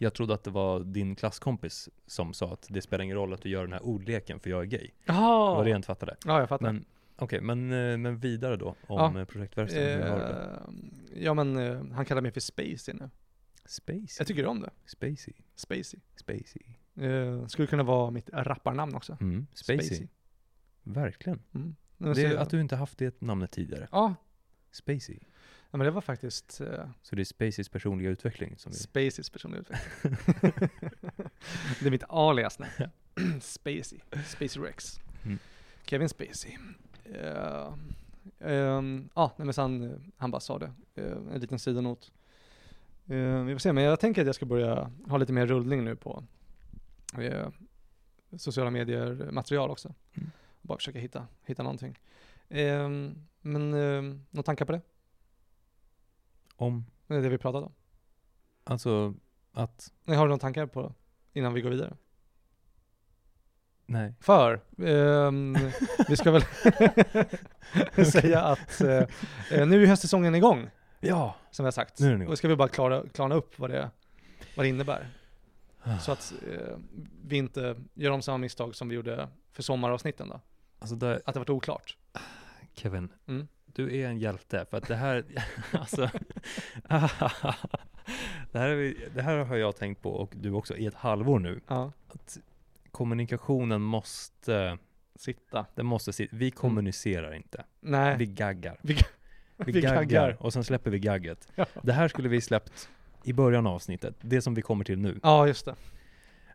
B: jag trodde att det var din klasskompis som sa att det spelar ingen roll att du gör den här ordleken för jag är gay. Det
A: Ja,
B: var det jag inte fattade.
A: ja jag fattar.
B: Men okej, men, eh, men vidare då om
A: Ja.
B: ja. projektverkstaden. Hur var det?
A: Eh, ja men eh, han kallar mig för Spacey nu.
B: Spacey.
A: Jag tycker om det.
B: Spacey.
A: Spacey.
B: Spacey.
A: Eh, skulle kunna vara mitt rapparnamn också.
B: Mm, spacey. Verkligen.
A: Mm. Nu
B: Det
A: ser
B: är
A: jag-
B: att du inte haft det namnet tidigare.
A: Ja,
B: Spacey.
A: ja, men det var faktiskt eh,
B: Så det är Spaceys personliga utveckling som vi...
A: Spaceys personliga utveckling. det är mitt alias nu. Spacey. Spacey Rex.
B: Mm.
A: Kevin Spacey. Eh, ehm, Ja, nej men så han, han bara sa det. Eh, en liten sidonot. Eh, vi får se, men jag tänker att jag ska börja ha lite mer rullning nu på eh, sociala medier-material också.
B: Mm.
A: Bara försöka hitta, hitta någonting. Ehm, men uh, några tankar på det?
B: Om,
A: Det är det vi pratade om.
B: alltså att,
A: Nej, Har du några tankar på det innan vi går vidare?
B: nej.
A: För ehm, vi ska väl säga att eh, eh, nu är höstsäsongen igång,
B: Ja!
A: som vi har sagt.
B: Nu är den igång.
A: Och ska vi bara klara, klara upp vad det, vad det innebär. Så att eh, vi inte gör om samma misstag som vi gjorde för sommaravsnitten då.
B: Alltså där,
A: Att det varit oklart.
B: Kevin,
A: Mm.
B: du är en hjälte för att det här, alltså, det, här är, vi- det här har jag tänkt på och du också i ett halvår nu.
A: Ja,
B: Kommunikationen måste,
A: sitta.
B: den måste, sit- vi kommunicerar inte.
A: Mm. Nej,
B: Vi gaggar.
A: Vi-
B: Vi,
A: vi
B: gaggar.
A: gaggar.
B: och sen släpper vi gagget.
A: Ja.
B: Det här skulle vi släppt i början av avsnittet, det som vi kommer till nu.
A: ja just det.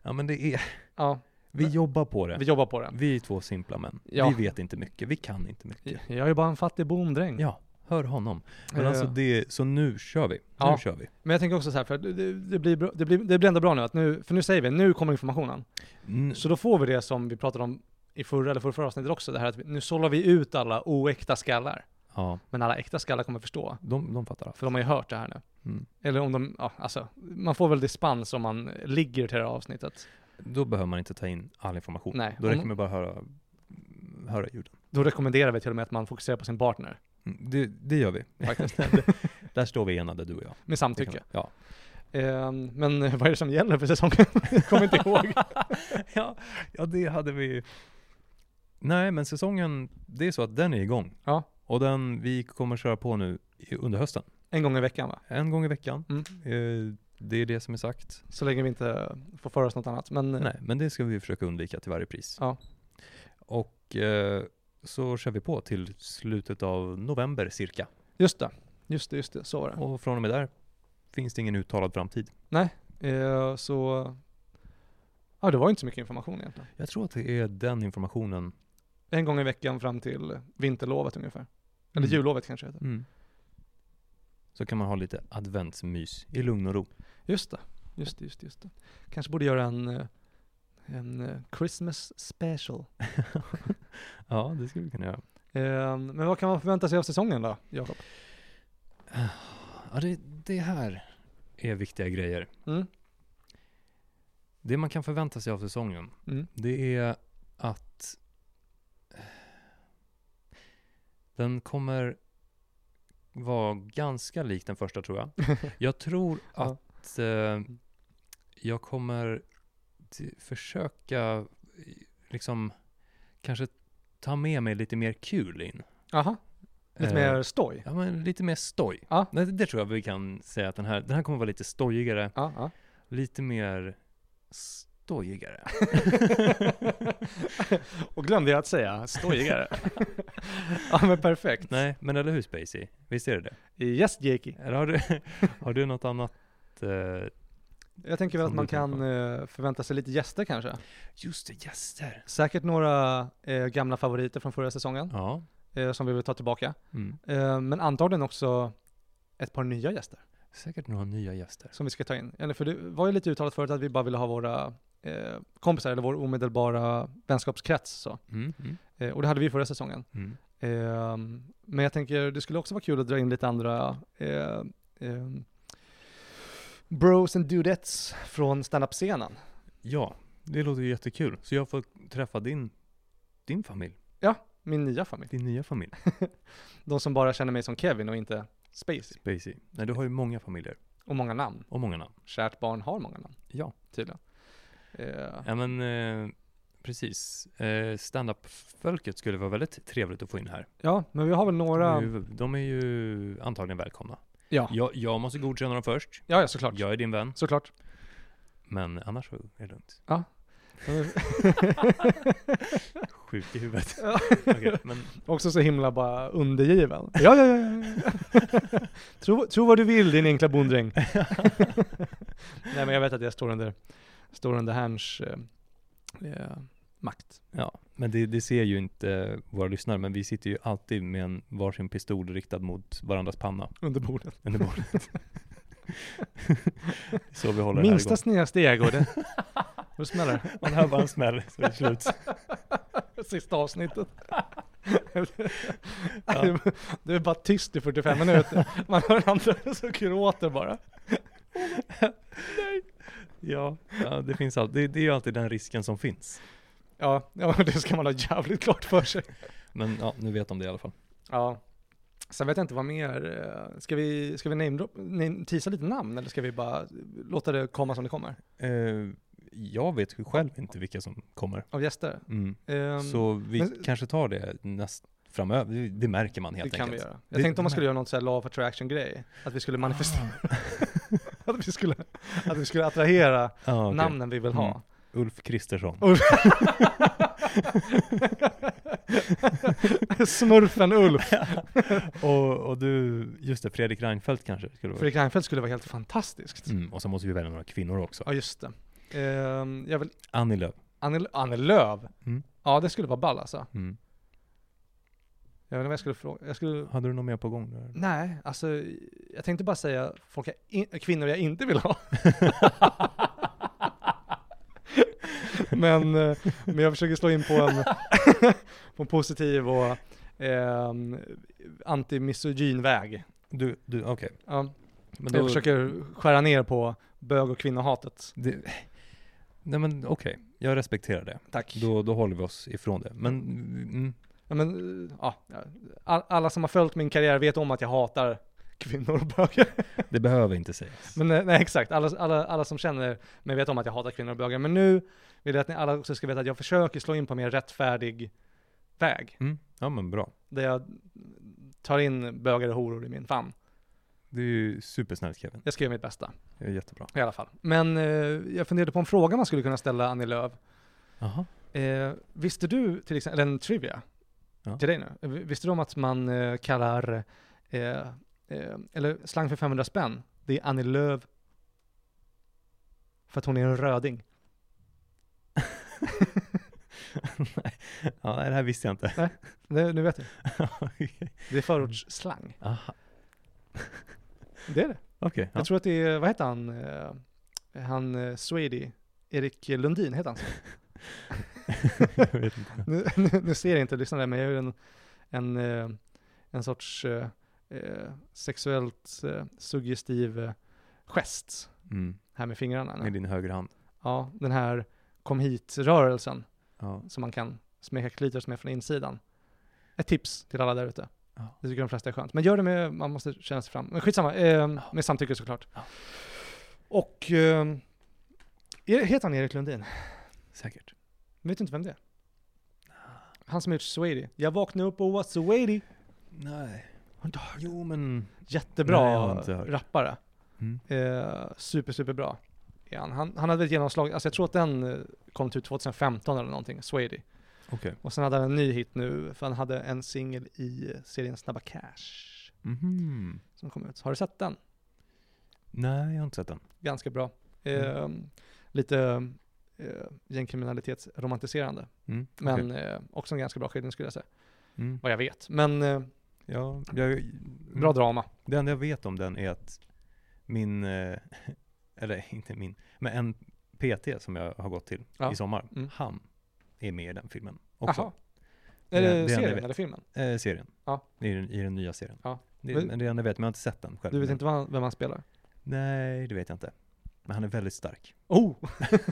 B: Ja men det är,
A: Ja,
B: vi jobbar på det.
A: vi jobbar på det.
B: Vi är två simpla män.
A: Ja.
B: Vi vet inte mycket, vi kan inte mycket. Mm.
A: Jag är bara en fattig bonddräng.
B: Ja, hör honom. Men
A: Eh.
B: alltså det, så nu kör vi. Nu
A: Ja.
B: kör vi.
A: Men jag tänker också så här, för det, det, det, blir, bra, det, blir, det blir ändå bra nu, att nu, för nu säger vi, nu kommer informationen.
B: Mm,
A: Så då får vi det som vi pratade om i förra eller förra, avsnittet också, det här att vi, nu sållar vi ut alla oäkta skallar.
B: ja,
A: Men alla äkta skallar kommer förstå,
B: de, de fattar allt.
A: för de har ju hört det här nu.
B: Mm.
A: Eller om de, ja alltså, man får väl dispens om man ligger till det här avsnittet.
B: Då behöver man inte ta in all information.
A: Nej,
B: Då
A: om-
B: räcker det med bara att höra, höra ljuden.
A: Då rekommenderar vi till och med att man fokuserar på sin partner,
B: Mm, Det, det gör vi.
A: faktiskt,
B: Där står vi enade du och jag.
A: med
B: Det kan-
A: samtycke.
B: Ja.
A: Eh, men vad är det som gäller för säsongen? Jag kommer inte ihåg.
B: ja, ja, det hade vi Nej, men säsongen, det är så att den är igång.
A: Ja.
B: Och den, vi kommer köra på nu i- under hösten.
A: En gång i veckan va?
B: En gång i veckan.
A: Mm.
B: Eh, Det är det som är sagt.
A: Så länge vi inte får för oss något annat. Men eh,
B: Nej, men det ska vi försöka undvika till varje pris.
A: Ja.
B: Och eh, så kör vi på till slutet av november cirka.
A: just det, just det, just det, så var det.
B: Och från och med där finns det ingen uttalad framtid.
A: Eh, så, ja det var inte så mycket information egentligen.
B: Jag tror att det är den informationen.
A: en gång i veckan fram till vinterlovet ungefär. Eller
B: Mm.
A: jullovet kanske det heter.
B: Mm. Så kan man ha lite adventsmys i lugn och ro.
A: Just det, just det, just det. Just det. Kanske borde göra en, eh, en eh, Christmas special.
B: Ja, det skulle vi kunna göra.
A: Eh, Men vad kan man förvänta sig av säsongen då, Jakob?
B: Ja, det, det här är viktiga grejer.
A: Mm?
B: Det man kan förvänta sig av säsongen,
A: Mm.
B: det är att den kommer vara ganska lik den första tror jag. Jag tror
A: Ja.
B: att eh, jag kommer t- försöka i- liksom kanske ta med mig lite mer kul in.
A: Aha, lite
B: Eh,
A: mer stoj.
B: Ja, men lite mer stoj.
A: Ja.
B: Nej, Det, det tror jag vi kan säga att den här, den här kommer vara lite stojigare,
A: Ja, ja.
B: lite mer stojigare.
A: Och glömde jag att säga, stojigare. ja men perfekt.
B: Nej, men eller hur Spacey? Visst är det det?
A: Yes Jakey.
B: Eller har du, har du något annat? eh,
A: Jag tänker väl
B: Som
A: att man
B: du tänker
A: kan eh, förvänta sig lite gäster kanske.
B: Just det, gäster.
A: Säkert några eh, gamla favoriter från förra säsongen
B: Ja.
A: eh, som vi vill ta tillbaka.
B: Mm.
A: Eh, Men antagligen också ett par nya gäster
B: Säkert några nya gäster.
A: som vi ska ta in. Eller för det var ju lite uttalat förut att vi bara ville ha våra eh, kompisar, eller vår omedelbara vänskapskrets. Så.
B: Mm. Mm.
A: Eh, och det hade vi förra säsongen.
B: Mm.
A: Ehm, men jag tänker, det skulle också vara kul att dra in lite andra eh, ehm, bros and dudettes från standup-scenen.
B: Ja, det låter ju jättekul. Så jag får träffa din, din familj,
A: Min nya familj.
B: din nya familj,
A: De som bara känner mig som Kevin och inte Spacey.
B: Spacey. Nej, du har ju många familjer
A: Och många namn.
B: och många namn.
A: Kärt barn har många namn,
B: Ja.
A: tydligen. Eh,
B: Ja men eh, precis. Eh, Standup-folket skulle vara väldigt trevligt att få in här.
A: ja, men vi har väl
B: De
A: några...
B: är ju, de är ju antagligen välkomna.
A: Ja,
B: Jag, jag måste godkänna dem först.
A: ja, ja såklart.
B: Jag är din vän,
A: Såklart.
B: men annars så är det lugnt. Sjuk i huvudet.
A: Ja.
B: Okej, men
A: Också så himla bara undergiven. Ja, ja, ja, ja. tro, tro vad du vill din enkla bonddräng. Nej men jag vet att jag står under, står under hans eh, eh, makt.
B: Ja, men det, det ser ju inte våra lyssnare, men vi sitter ju alltid med en varsin pistol riktad mot varandras panna
A: Under bordet.
B: under bordet. så vi håller
A: Minsta
B: det
A: sneda steg och det... Då smäller det.
B: här igång. Man hör bara en smäll, så är det slut.
A: Sista avsnittet.
B: Ja.
A: Du är bara tyst i 45 minuter. Man hör andra som gråter bara.
B: Ja, ja det finns alltid, det, det är ju alltid den risken som finns.
A: Ja, ja, det ska man ha jävligt klart för sig.
B: Men ja, nu vet de det i alla fall.
A: Ja. Sen vet jag inte vad mer. eh, Ska vi, ska vi name, drop, name tisa lite namn eller ska vi bara låta det komma som det kommer?
B: Eh, jag vet ju själv inte vilka som kommer.
A: Av gäster?
B: Mm.
A: Ehm,
B: så vi
A: men-
B: kanske tar det näst, framöver, det, det märker man
A: det
B: helt
A: kan
B: enkelt.
A: vi göra. Jag
B: Det-
A: tänkte om man
B: det-
A: skulle göra något så här law of attraction grej. Att vi skulle manifestera, att, vi skulle, att vi skulle attrahera
B: Ja, okej.
A: namnen vi vill ha.
B: Mm. Ulf Kristersson.
A: Smurfen Ulf.
B: Och, och du, just det, Fredrik Reinfeldt kanske skulle vara.
A: Fredrik Reinfeldt skulle vara helt fantastiskt.
B: Mm, och så måste vi välja några kvinnor också.
A: Ja just det. Ehm, jag vill,
B: Annie Lööf.
A: Annie, Annie Lööf.
B: Mm.
A: Ja det skulle vara ball alltså.
B: Mm.
A: Jag vet inte vad jag skulle fråga. Jag skulle
B: Hade du något mer på gång? Där?
A: Nej, alltså jag tänkte bara säga folk jag in, kvinnor jag inte vill ha. men, eh, men jag försöker slå in på en, på en positiv och eh, antimisogyn väg.
B: Du, du okej.
A: Ja,
B: Men
A: jag
B: då-
A: försöker skära ner på bög och kvinnohatet.
B: Det, nej men okej, jag respekterar det.
A: Tack.
B: Då, då håller vi oss ifrån det. Men mm,
A: Ja, men, eh, ja, all, alla som har följt min karriär vet om att jag hatar kvinnor och bögar.
B: det behöver inte sägas.
A: Men eh, nej, exakt. Alla, alla, alla som känner mig vet om att jag hatar kvinnor och bögar. Men nu vill jag att ni alla också ska veta att jag försöker slå in på en mer rättfärdig väg.
B: Mm, ja men bra.
A: Där jag tar in bögar och horor i min famn.
B: Det är ju supersnällt Kevin.
A: Jag ska göra mitt bästa
B: Det är jättebra.
A: i alla fall. Men eh, jag funderade på en fråga man skulle kunna ställa Annie Lööf.
B: Jaha.
A: Eh, visste du till exempel, eller en trivia
B: Ja.
A: till dig nu. V- Visste du om att man eh, kallar, eh, eh, eller slang för 500 spänn, det är Annie Lööf för att hon är en röding.
B: nej. Ja, nej, det här visste jag inte.
A: Nu, nu vet du.
B: Okej.
A: Det är förortsslang.
B: Aha,
A: Det är det.
B: Okej. ja.
A: Jag tror att det är, vad heter han, eh, han eh, Swedy, Erik Lundin heter han så?
B: jag vet inte.
A: nu, nu, nu ser jag inte lyssnare, men jag gör en, en, eh, en sorts eh, eh, sexuellt eh, suggestiv eh, gest
B: Mm,
A: här med fingrarna.
B: med
A: Nu.
B: din högra hand.
A: Ja, den här kom hit-rörelsen
B: Ja.
A: som man kan smeka klitoris med från insidan. Ett tips till alla där ute.
B: Ja.
A: Det tycker de flesta är skönt. Men gör det med, man måste känna sig fram. Men skitsamma, eh, med samtycke såklart.
B: Ja.
A: Och, eh, är- heter han Erik Lundin?
B: Säkert.
A: Men vet du inte vem det är?
B: Ah.
A: Han som har gjort Swady. Jag vaknade upp och var Swady.
B: Nej. Jo men...
A: Jättebra
B: Nej, jag har inte hört.
A: rappare.
B: Mm.
A: Eh, super, super bra. Ja, han, han, han hade ett genomslag, alltså jag tror att den eh, kom typ 2015 eller någonting, Swady.
B: Okej.
A: Och sen hade han en ny hit nu, för han hade en singel i serien Snabba Cash
B: Mhm.
A: som kom ut. Har du sett den?
B: Nej, jag har inte sett den.
A: Ganska bra. Eh, Lite eh, gängkriminalitetsromantiserande,
B: Mm,
A: men
B: okej.
A: eh, också en ganska bra skildring skulle jag säga,
B: Mm.
A: vad jag vet. Men eh,
B: Ja, jag,
A: bra
B: mm.
A: drama.
B: Det enda jag vet om den är att min, eh, eller inte min, men en PT som jag har gått till
A: Ja.
B: i sommar,
A: Mm.
B: han är med i den filmen också.
A: Jaha. Är
B: Det-
A: det,
B: det enda jag
A: serien
B: vet.
A: eller filmen?
B: Eh, serien.
A: Ja.
B: I, den, I den nya serien.
A: Ja.
B: Det,
A: Men-
B: men det enda jag vet, men jag har inte sett den själv.
A: Du vet
B: Men-
A: inte vad han, vem han spelar?
B: Nej, det vet jag inte. Men han är väldigt stark.
A: Oh!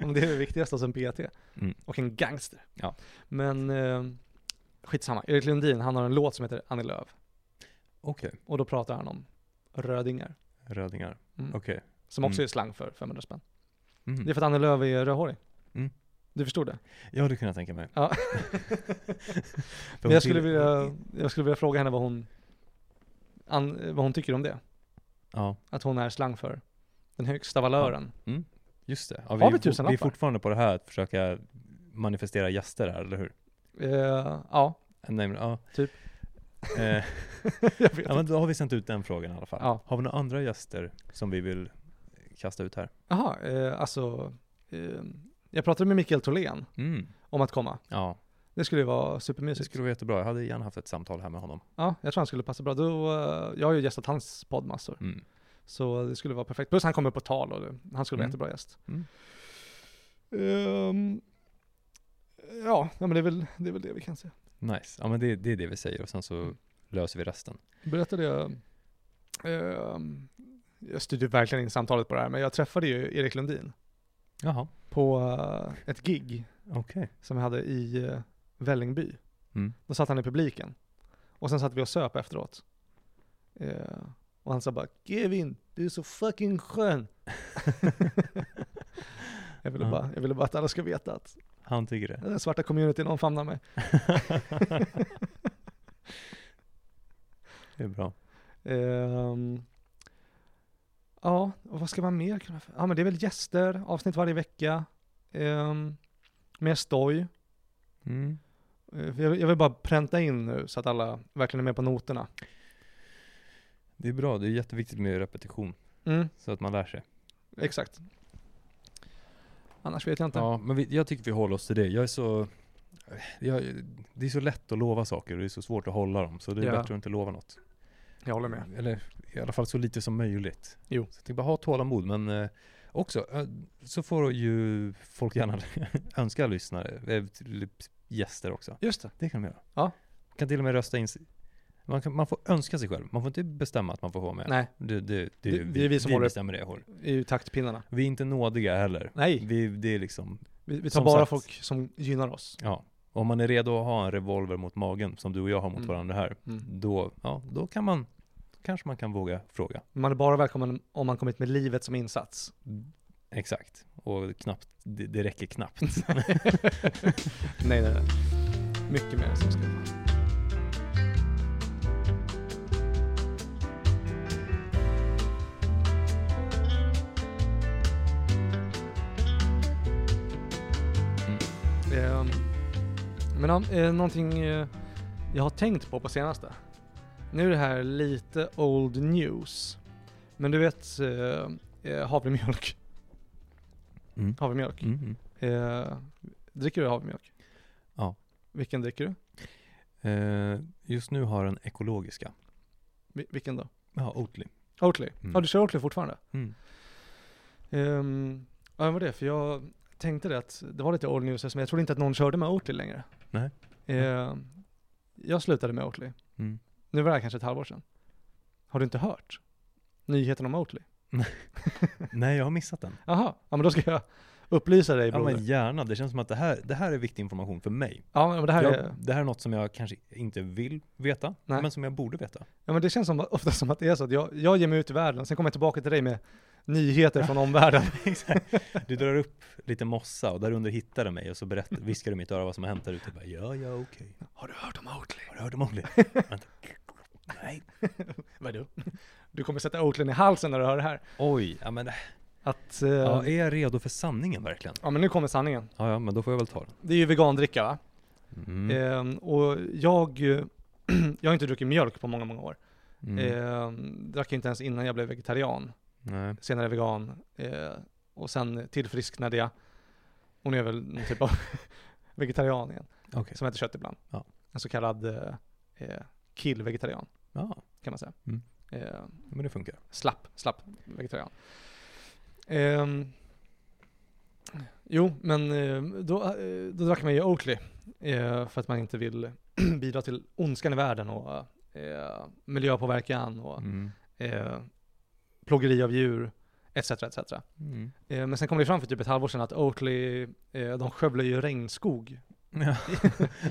A: Om det är det viktigaste som PT.
B: Mm.
A: Och en gangster.
B: Ja.
A: Men eh, skitsamma. Erik Lundin, han har en låt som heter Annie Lööf.
B: Okej.
A: Och då pratar han om rödingar.
B: Rödingar.
A: Mm.
B: Okej.
A: Som också
B: Mm.
A: är slang för 500 spänn.
B: Mm.
A: Det är för att Annie Lööf är rödhårig.
B: Mm.
A: Du förstod det?
B: Ja, det kunde jag tänka mig.
A: Ja.
B: För
A: Men
B: hon
A: jag skulle,
B: till- Mm.
A: vilja, jag skulle vilja fråga henne vad hon, an, vad hon tycker om det.
B: Ja,
A: Att hon är slang för den högsta valören.
B: just det. Ja,
A: Har vi
B: är fo- Vi är
A: tusenlappar?
B: fortfarande på det här att försöka manifestera gäster här, eller hur?
A: Eh, ja,
B: Nej, men, ja.
A: Typ.
B: Eh,
A: jag vet
B: ja, men då har vi sänt ut den frågan i alla fall.
A: Ja.
B: Har vi några andra gäster som vi vill kasta ut här?
A: Jaha, eh, alltså. Eh, jag pratade med Mikael Tholén
B: Mm.
A: om att komma.
B: Ja,
A: Det skulle ju vara
B: det
A: supermysigt.
B: skulle vara jättebra. Jag hade gärna haft ett samtal här med honom.
A: Ja, jag tror han skulle passa bra. Då, eh, jag har ju gästat hans podd massor,
B: Mm.
A: så det skulle vara perfekt. Plus han kommer på tal och det- han skulle vara
B: Mm.
A: jättebra gäst.
B: Mm.
A: Ehm, ja, nej, men det är, väl, det är väl det vi kan se.
B: Nice. Ja, men det, det är det vi säger och sen så
A: Mm.
B: löser vi resten.
A: Berättade jag, ehm, jag styrde verkligen in samtalet på det här, men jag träffade ju Erik Lundin
B: Jaha,
A: på eh, ett gig
B: okej.
A: som vi hade i eh, Vällingby.
B: Mm.
A: Då satt han i publiken. Och sen satt vi och söp efteråt. Eh, och han sa bara Kevin, du är så fucking skön. jag, ville
B: Ja.
A: bara, jag ville bara att alla ska veta att
B: Han tycker det.
A: den där svarta communityn omfamnar mig.
B: det är bra.
A: Ehm, ja, och vad ska man mer kunna... Ja men det är väl gäster, avsnitt varje vecka. Um, mer stoj.
B: Mm.
A: Eh, jag, vill- jag vill bara pränta in nu så att alla verkligen är med på noterna.
B: Det är bra, det är jätteviktigt med repetition
A: Mm,
B: så att man lär sig.
A: exakt. Annars vet jag inte.
B: Ja, men vi, jag tycker vi håller oss till det. Jag är så... Jag, det är så lätt att lova saker och det är så svårt att hålla dem, så det är
A: Ja.
B: bättre att inte lova något.
A: Jag håller med.
B: Eller i alla fall så lite som möjligt.
A: Jo.
B: Så jag tänkte bara ha tålamod, men eh, också eh, så får ju folk gärna önska lyssnare, eh, till- gäster också.
A: Just det.
B: Det kan de göra.
A: Ja.
B: Kan till och med rösta in. si- Man, kan, man får önska sig själv. Man får inte bestämma att man får vara med.
A: Nej,
B: Det, det, det,
A: Det- det är vi som
B: vi
A: håller-
B: bestämmer det. Håll.
A: i ju taktpinnarna.
B: Vi är inte nådiga heller.
A: Nej,
B: Vi, det är liksom,
A: vi, vi tar
B: som
A: bara
B: sagt.
A: folk som gynnar oss.
B: ja. Om man är redo att ha en revolver mot magen, som du och jag har mot
A: Mm.
B: varandra här, då, ja, då kan man, kanske man kan våga fråga.
A: Man är bara välkommen om man kommit med livet som insats.
B: Exakt. Och knappt, det, det räcker knappt.
A: nej, nej, nej. Mycket mer som ska
B: Mm.
A: Ehm, Men ja, eh, någonting eh, jag har tänkt på på senaste. Nu är det här lite old news. Men du vet eh, eh, havremjölk.
B: Mm.
A: Havremjölk.
B: Mm, mm.
A: Eh, dricker du havremjölk?
B: Ja.
A: Vilken dricker du?
B: Eh, just nu har den ekologiska.
A: Vi- vilken då?
B: Ja, Oatly.
A: Oatly?
B: Mm.
A: Ja, du kör Oatly fortfarande?
B: Mm.
A: Ehm, ja, det var det. För jag tänkte det att det var lite old news eftersom jag trodde inte att någon körde med Oatly längre.
B: Nej.
A: Ehm, jag slutade med Oatly.
B: Mm.
A: Nu var det här kanske ett halvår sedan. Har du inte hört nyheten om Oatly?
B: Nej, jag har missat den.
A: Jaha, ja men då ska jag upplysa dig
B: Ja,
A: broder.
B: men gärna. Det känns som att det här, det här är viktig information för mig.
A: Ja men det här
B: jag,
A: är,
B: det här är något som jag kanske inte vill veta,
A: Nej.
B: men som jag borde veta.
A: ja men det känns som, ofta som att det är så att jag, jag ger mig ut i världen, sen kommer jag tillbaka till dig med nyheter från omvärlden.
B: Exakt. Du drar upp lite mossa och där under hittar du mig och så berättar, viskar du i mitt öra vad som har hänt där ute. Jag bara, Ja, ja, okej.
A: Har du hört om Oatly?
B: Har du hört om Olli? Vänta. Nej.
A: Vad du? Du kommer sätta Oatly i halsen när du hör det här.
B: Oj, ja, men,
A: Att, eh,
B: ja,
A: ja,
B: är jag redo för sanningen verkligen?
A: men nu kommer sanningen.
B: Ja, ja, men då får jag väl ta den.
A: Det är ju vegandricka va?
B: Mm.
A: Ehm, och jag, eh, jag har inte druckit mjölk på många, många år.
B: Mm.
A: Ehm, drack inte ens innan jag blev vegetarian.
B: Nej.
A: Senare vegan. Eh, och sen tillfrisknade jag. Och nu är jag väl någon typ av vegetarian igen.
B: Okej.
A: Som äter kött ibland.
B: Ja.
A: En så kallad eh, eh, kill-vegetarian
B: Ja,
A: kan man säga.
B: Mm.
A: Eh,
B: men det funkar.
A: slapp, slapp vegetarian. Ehm, jo, men eh, då, eh, då drack man ju Oakley eh, för att man inte vill bidra till ondskan i världen och eh, miljöpåverkan och
B: Mm.
A: eh, plågeri av djur etc. etc.
B: Mm.
A: Eh, men sen kom det fram för typ ett halvår sedan att Oakley, eh, de skövlar ju regnskog
B: Ja.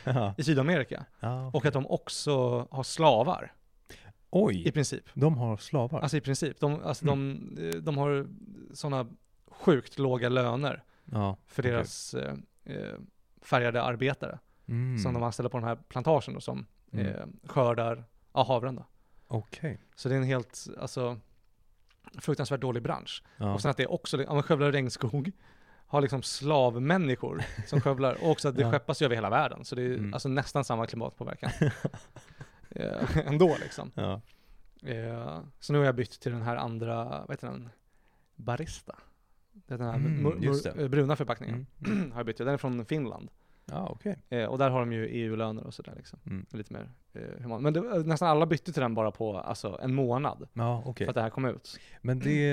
B: ja.
A: i Sydamerika
B: ja.
A: och att de också har slavar i
B: Oj,
A: princip.
B: de har Mm. slavar.
A: Alltså i princip. De, alltså de, eh, de har sådana sjukt låga löner
B: ja.
A: för
B: Okej.
A: deras eh, eh, färgade arbetare
B: Mm.
A: som de anställer på den här plantagen då, som
B: Mm.
A: eh, skördar ja, havren. Då.
B: Okej.
A: Så det är en helt, alltså, fruktansvärt dålig bransch.
B: Ja.
A: Och sen att det också, ja, man skövlar regnskog, har liksom slavmänniskor som skövlar, och också att det
B: Ja.
A: skeppas ju över hela världen, så det är ju
B: Mm.
A: alltså nästan samma klimatpåverkan. eh, ändå liksom.
B: ja.
A: Eh, så nu har jag bytt till den här andra, vad heter den? Barista. Det är den här
B: Mm,
A: mur,
B: just
A: mur,
B: det.
A: bruna förpackningen.
B: Mm. Mm.
A: Har jag bytt till. Den är från Finland.
B: Ja, okej.
A: Eh, och där har de ju EU-löner och sådär liksom.
B: Mm.
A: Lite mer eh, human. Men det, nästan alla bytte till den bara på alltså, en månad.
B: Ja, okej.
A: För att det här kom ut.
B: Men det,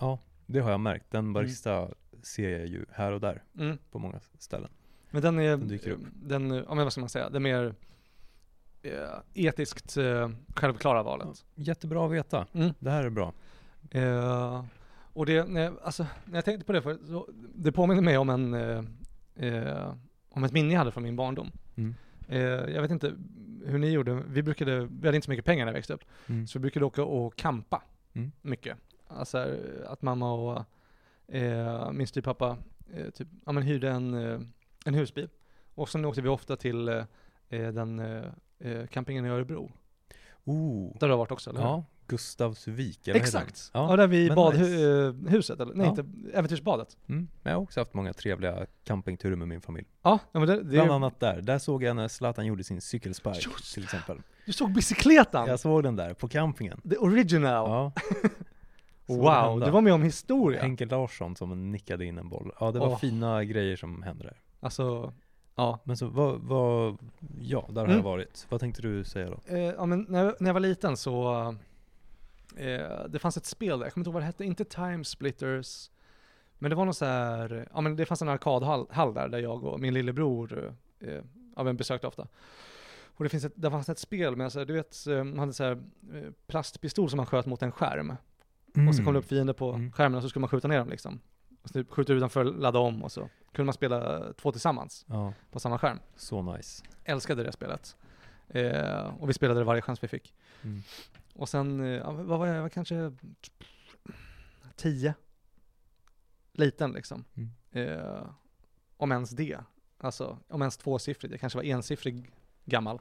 B: ja, det har jag märkt. Den barista ser jag ju här och där
A: Mm.
B: på många ställen.
A: Men den är,
B: Den dyker upp.
A: den, ja, men vad ska man säga, det mer eh, etiskt eh, självklara valet.
B: Jättebra att veta.
A: Mm.
B: Det här är bra.
A: Eh, och det, när jag, alltså, när jag tänkte på det för så, det påminner mig om en, eh, eh, om ett minne jag hade från min barndom.
B: Mm.
A: Eh, jag vet inte hur ni gjorde, vi brukade, vi hade inte så mycket pengar när jag växte upp.
B: Mm.
A: Så vi brukade åka och kampa
B: Mm.
A: mycket. Alltså eh, att mamma och eh, min styvpappa eh, typ, ja, men hyrde en, eh, en husbil. Och sen åkte vi ofta till eh, eh, den eh, eh, campingen i Örebro.
B: Oh,
A: Där du har varit också, eller hur?
B: ja. Gustavsvik, eller vad heter
A: Exakt!
B: den?
A: Ja,
B: Ja.
A: där vid
B: men
A: badhuset, eh, eller nej
B: Ja.
A: inte, äventyrsbadet.
B: Mm. Men jag har också haft många trevliga campingturer med min familj.
A: Ja, ja men det, det
B: Bland
A: är,
B: annat där. Där såg jag när Zlatan gjorde sin cykelspark till exempel.
A: du såg bicykletan!
B: Jag såg den där på campingen.
A: The original!
B: Ja. Såg den
A: wow,
B: hända.
A: du var med om historia!
B: Henke Larsson som nickade in en boll. Ja, det var
A: Åh.
B: fina grejer som hände där.
A: Alltså, ja.
B: Men så vad, vad ja, där har
A: Mm.
B: jag varit. Vad tänkte du säga då?
A: Eh, ja, men när, jag- när jag var liten så, eh, det fanns ett spel där, jag kommer inte ihåg vad det hette, inte Time Splitters, men det var någon så här, ja men det fanns en arkadhall hall där, där jag och min lillebror eh, ja, men besökte ofta. Och det, finns ett, det fanns ett spel med, så här, du vet, eh, man hade så här, eh, plastpistol som man sköt mot en skärm. Och så kom det upp fiender på
B: Mm.
A: skärmen och så skulle man skjuta ner dem liksom. Och så typ skjuta utanför, ladda om och så kunde man spela eh, två tillsammans
B: Ja,
A: på samma skärm
B: så nice.
A: älskade det spelet. Eh, och vi spelade det varje chans vi fick.
B: Mm.
A: Och sen, eh, ja, vad var jag, jag var kanske tio? Liten liksom.
B: Mm.
A: Eh, om ens det. Alltså, om ens tvåsiffrigt. Jag kanske var ensiffrig gammal.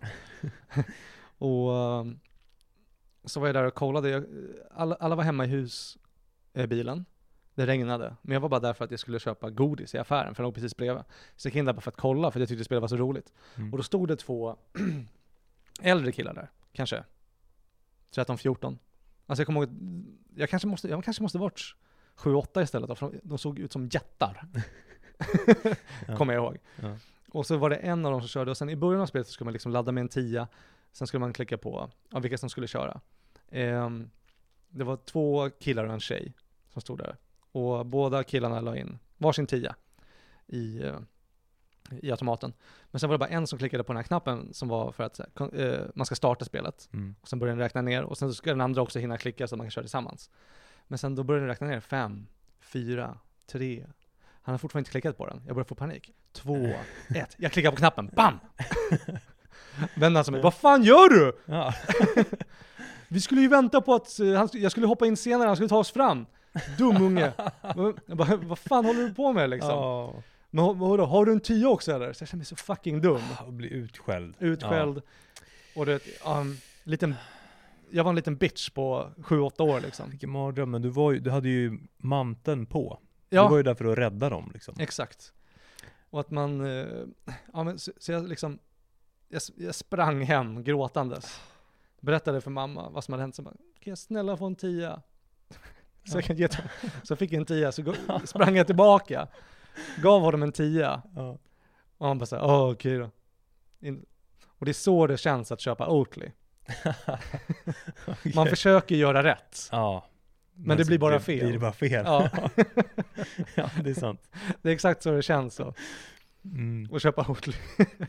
A: och eh, så var jag där och kollade. Jag, alla, alla var hemma i husbilen. Eh, bilen. det regnade. Men jag var bara där för att jag skulle köpa godis i affären, för den låg precis bredvid. Så jag gick in där bara för att kolla, för jag tyckte spelet var så roligt.
B: Mm.
A: Och då stod det två äldre killar där, kanske 13-14. Alltså jag kommer ihåg, att- jag kanske måste, jag kanske måste varit 7-8 istället då, för de, de såg ut som jättar.
B: Ja.
A: kommer jag ihåg.
B: Ja.
A: Och så var det en av dem som körde, och sen i början av spelet så skulle man liksom ladda med en tia, sen skulle man klicka på ja, vilka som skulle köra. Ehm, det var två killar och en tjej som stod där. Och båda killarna la in varsin tia i, eh, i automaten. Men sen var det bara en som klickade på den här knappen som var för att så här, kon- eh, man ska starta spelet.
B: Mm.
A: Och sen börjar den räkna ner och sen så ska den andra också hinna klicka så att man kan köra tillsammans. Men sen då börjar den räkna ner fem, fyra, tre. Han har fortfarande inte klickat på den. Jag börjar få panik. Två, ett. Jag klickar på knappen. Bam! Vänder som mig. Vad fan gör du?
B: Ja.
A: Vi skulle ju vänta på att eh, han, sk- jag skulle hoppa in senare, han skulle ta oss fram. Dumunge. Jag bara, Vad fan håller du på med liksom?
B: Ja.
A: Men hå- vadå, har du en tia också eller? Så jag känner mig så fucking dum.
B: Och bli utskälld.
A: Utskälld. Och du vet, ja, en liten, jag var en liten bitch på 7-8 år liksom.
B: Vilken mardröm. Men du, var ju, du hade ju manteln på. Du var
A: Ja,
B: ju där för att rädda dem liksom.
A: exakt. Och att man, eh, ja men så, så jag liksom, jag, s- jag sprang hem gråtandes. Berättade för mamma vad som hade hänt. Så bara, kan jag snälla få en tia? Så jag, kan ge till- så jag fick en tia, så gå- sprang jag tillbaka. Gav honom en tia.
B: Ja.
A: Och han bara såhär, åh okej då. In- och det är så det känns att köpa Oatly. Man
B: Okej.
A: försöker göra rätt.
B: ja.
A: Men det
B: så
A: blir bara fel.
B: Blir det bara fel.
A: Ja,
B: ja det är sant.
A: det är exakt så det känns så.
B: Mm.
A: Att köpa Oatly.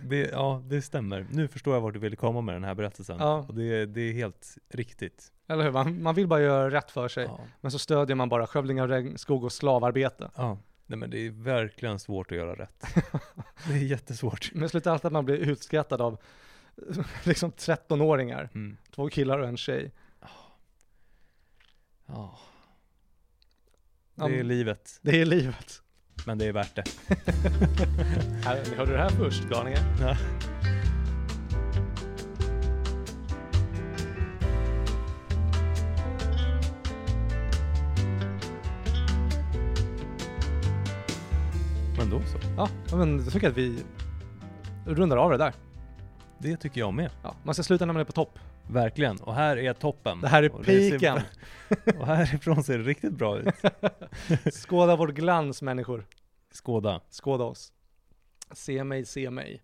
B: Det, ja, det stämmer. Nu förstår jag vart du ville komma med den här berättelsen.
A: Ja.
B: Och det, det är helt riktigt.
A: Eller hur? Man, man vill bara göra rätt för sig.
B: Ja.
A: Men så stödjer man bara skövling av regnskog och slavarbete.
B: ja. Nej men det är verkligen svårt att göra rätt. det är jättesvårt.
A: Men det slutar alltid att man blir utskrattad av liksom 13-åringar.
B: Mm.
A: Två killar och en tjej.
B: Ja.
A: Ja,
B: Det är
A: men-
B: livet,
A: Det är livet.
B: men det är värt det.
A: Här, ni hörde det här först, galningar.
B: Ja. Men då så.
A: Ja, ja, men jag tycker att vi rundar av det där.
B: Det tycker jag med.
A: Ja, man ska sluta när man är på topp.
B: Verkligen. Och här är toppen.
A: Det här är
B: Och det ser-
A: piken.
B: Och härifrån ser det riktigt bra ut.
A: Skåda vår glans människor.
B: Skåda.
A: Skåda oss. Se mig, se mig.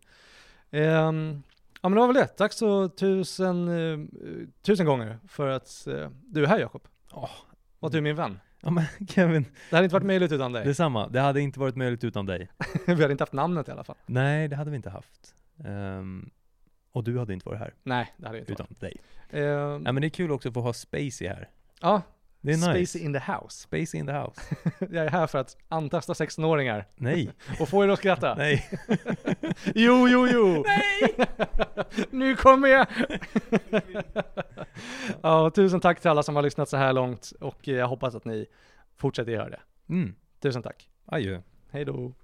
A: Ehm, ja men det var väl det. Tack så tusen, eh, tusen gånger för att eh, du är här Jakob.
B: Ja.
A: Och att du är min vän.
B: Ja men Kevin,
A: Det hade inte varit möjligt utan dig.
B: detsamma. Det hade inte varit möjligt utan dig.
A: Vi hade inte haft namnet i alla fall.
B: Nej, det hade vi inte haft. Ehm, och du hade inte varit här
A: Nej, det hade vi inte.
B: utan dig.
A: Ehm,
B: Ja men det är kul också att få ha Spacey här.
A: ja,
B: Det är
A: Space
B: nice.
A: in the house.
B: Spacey in the house.
A: Jag är här för att antasta 16-åringar
B: Nej,
A: och få er att skratta.
B: nej.
A: Jo, jo, jo! nu kommer jag! ja, och tusen tack till alla som har lyssnat så här eh, långt och jag hoppas att ni fortsätter göra det.
B: Mm.
A: Tusen tack.
B: Adjö.
A: Hej då.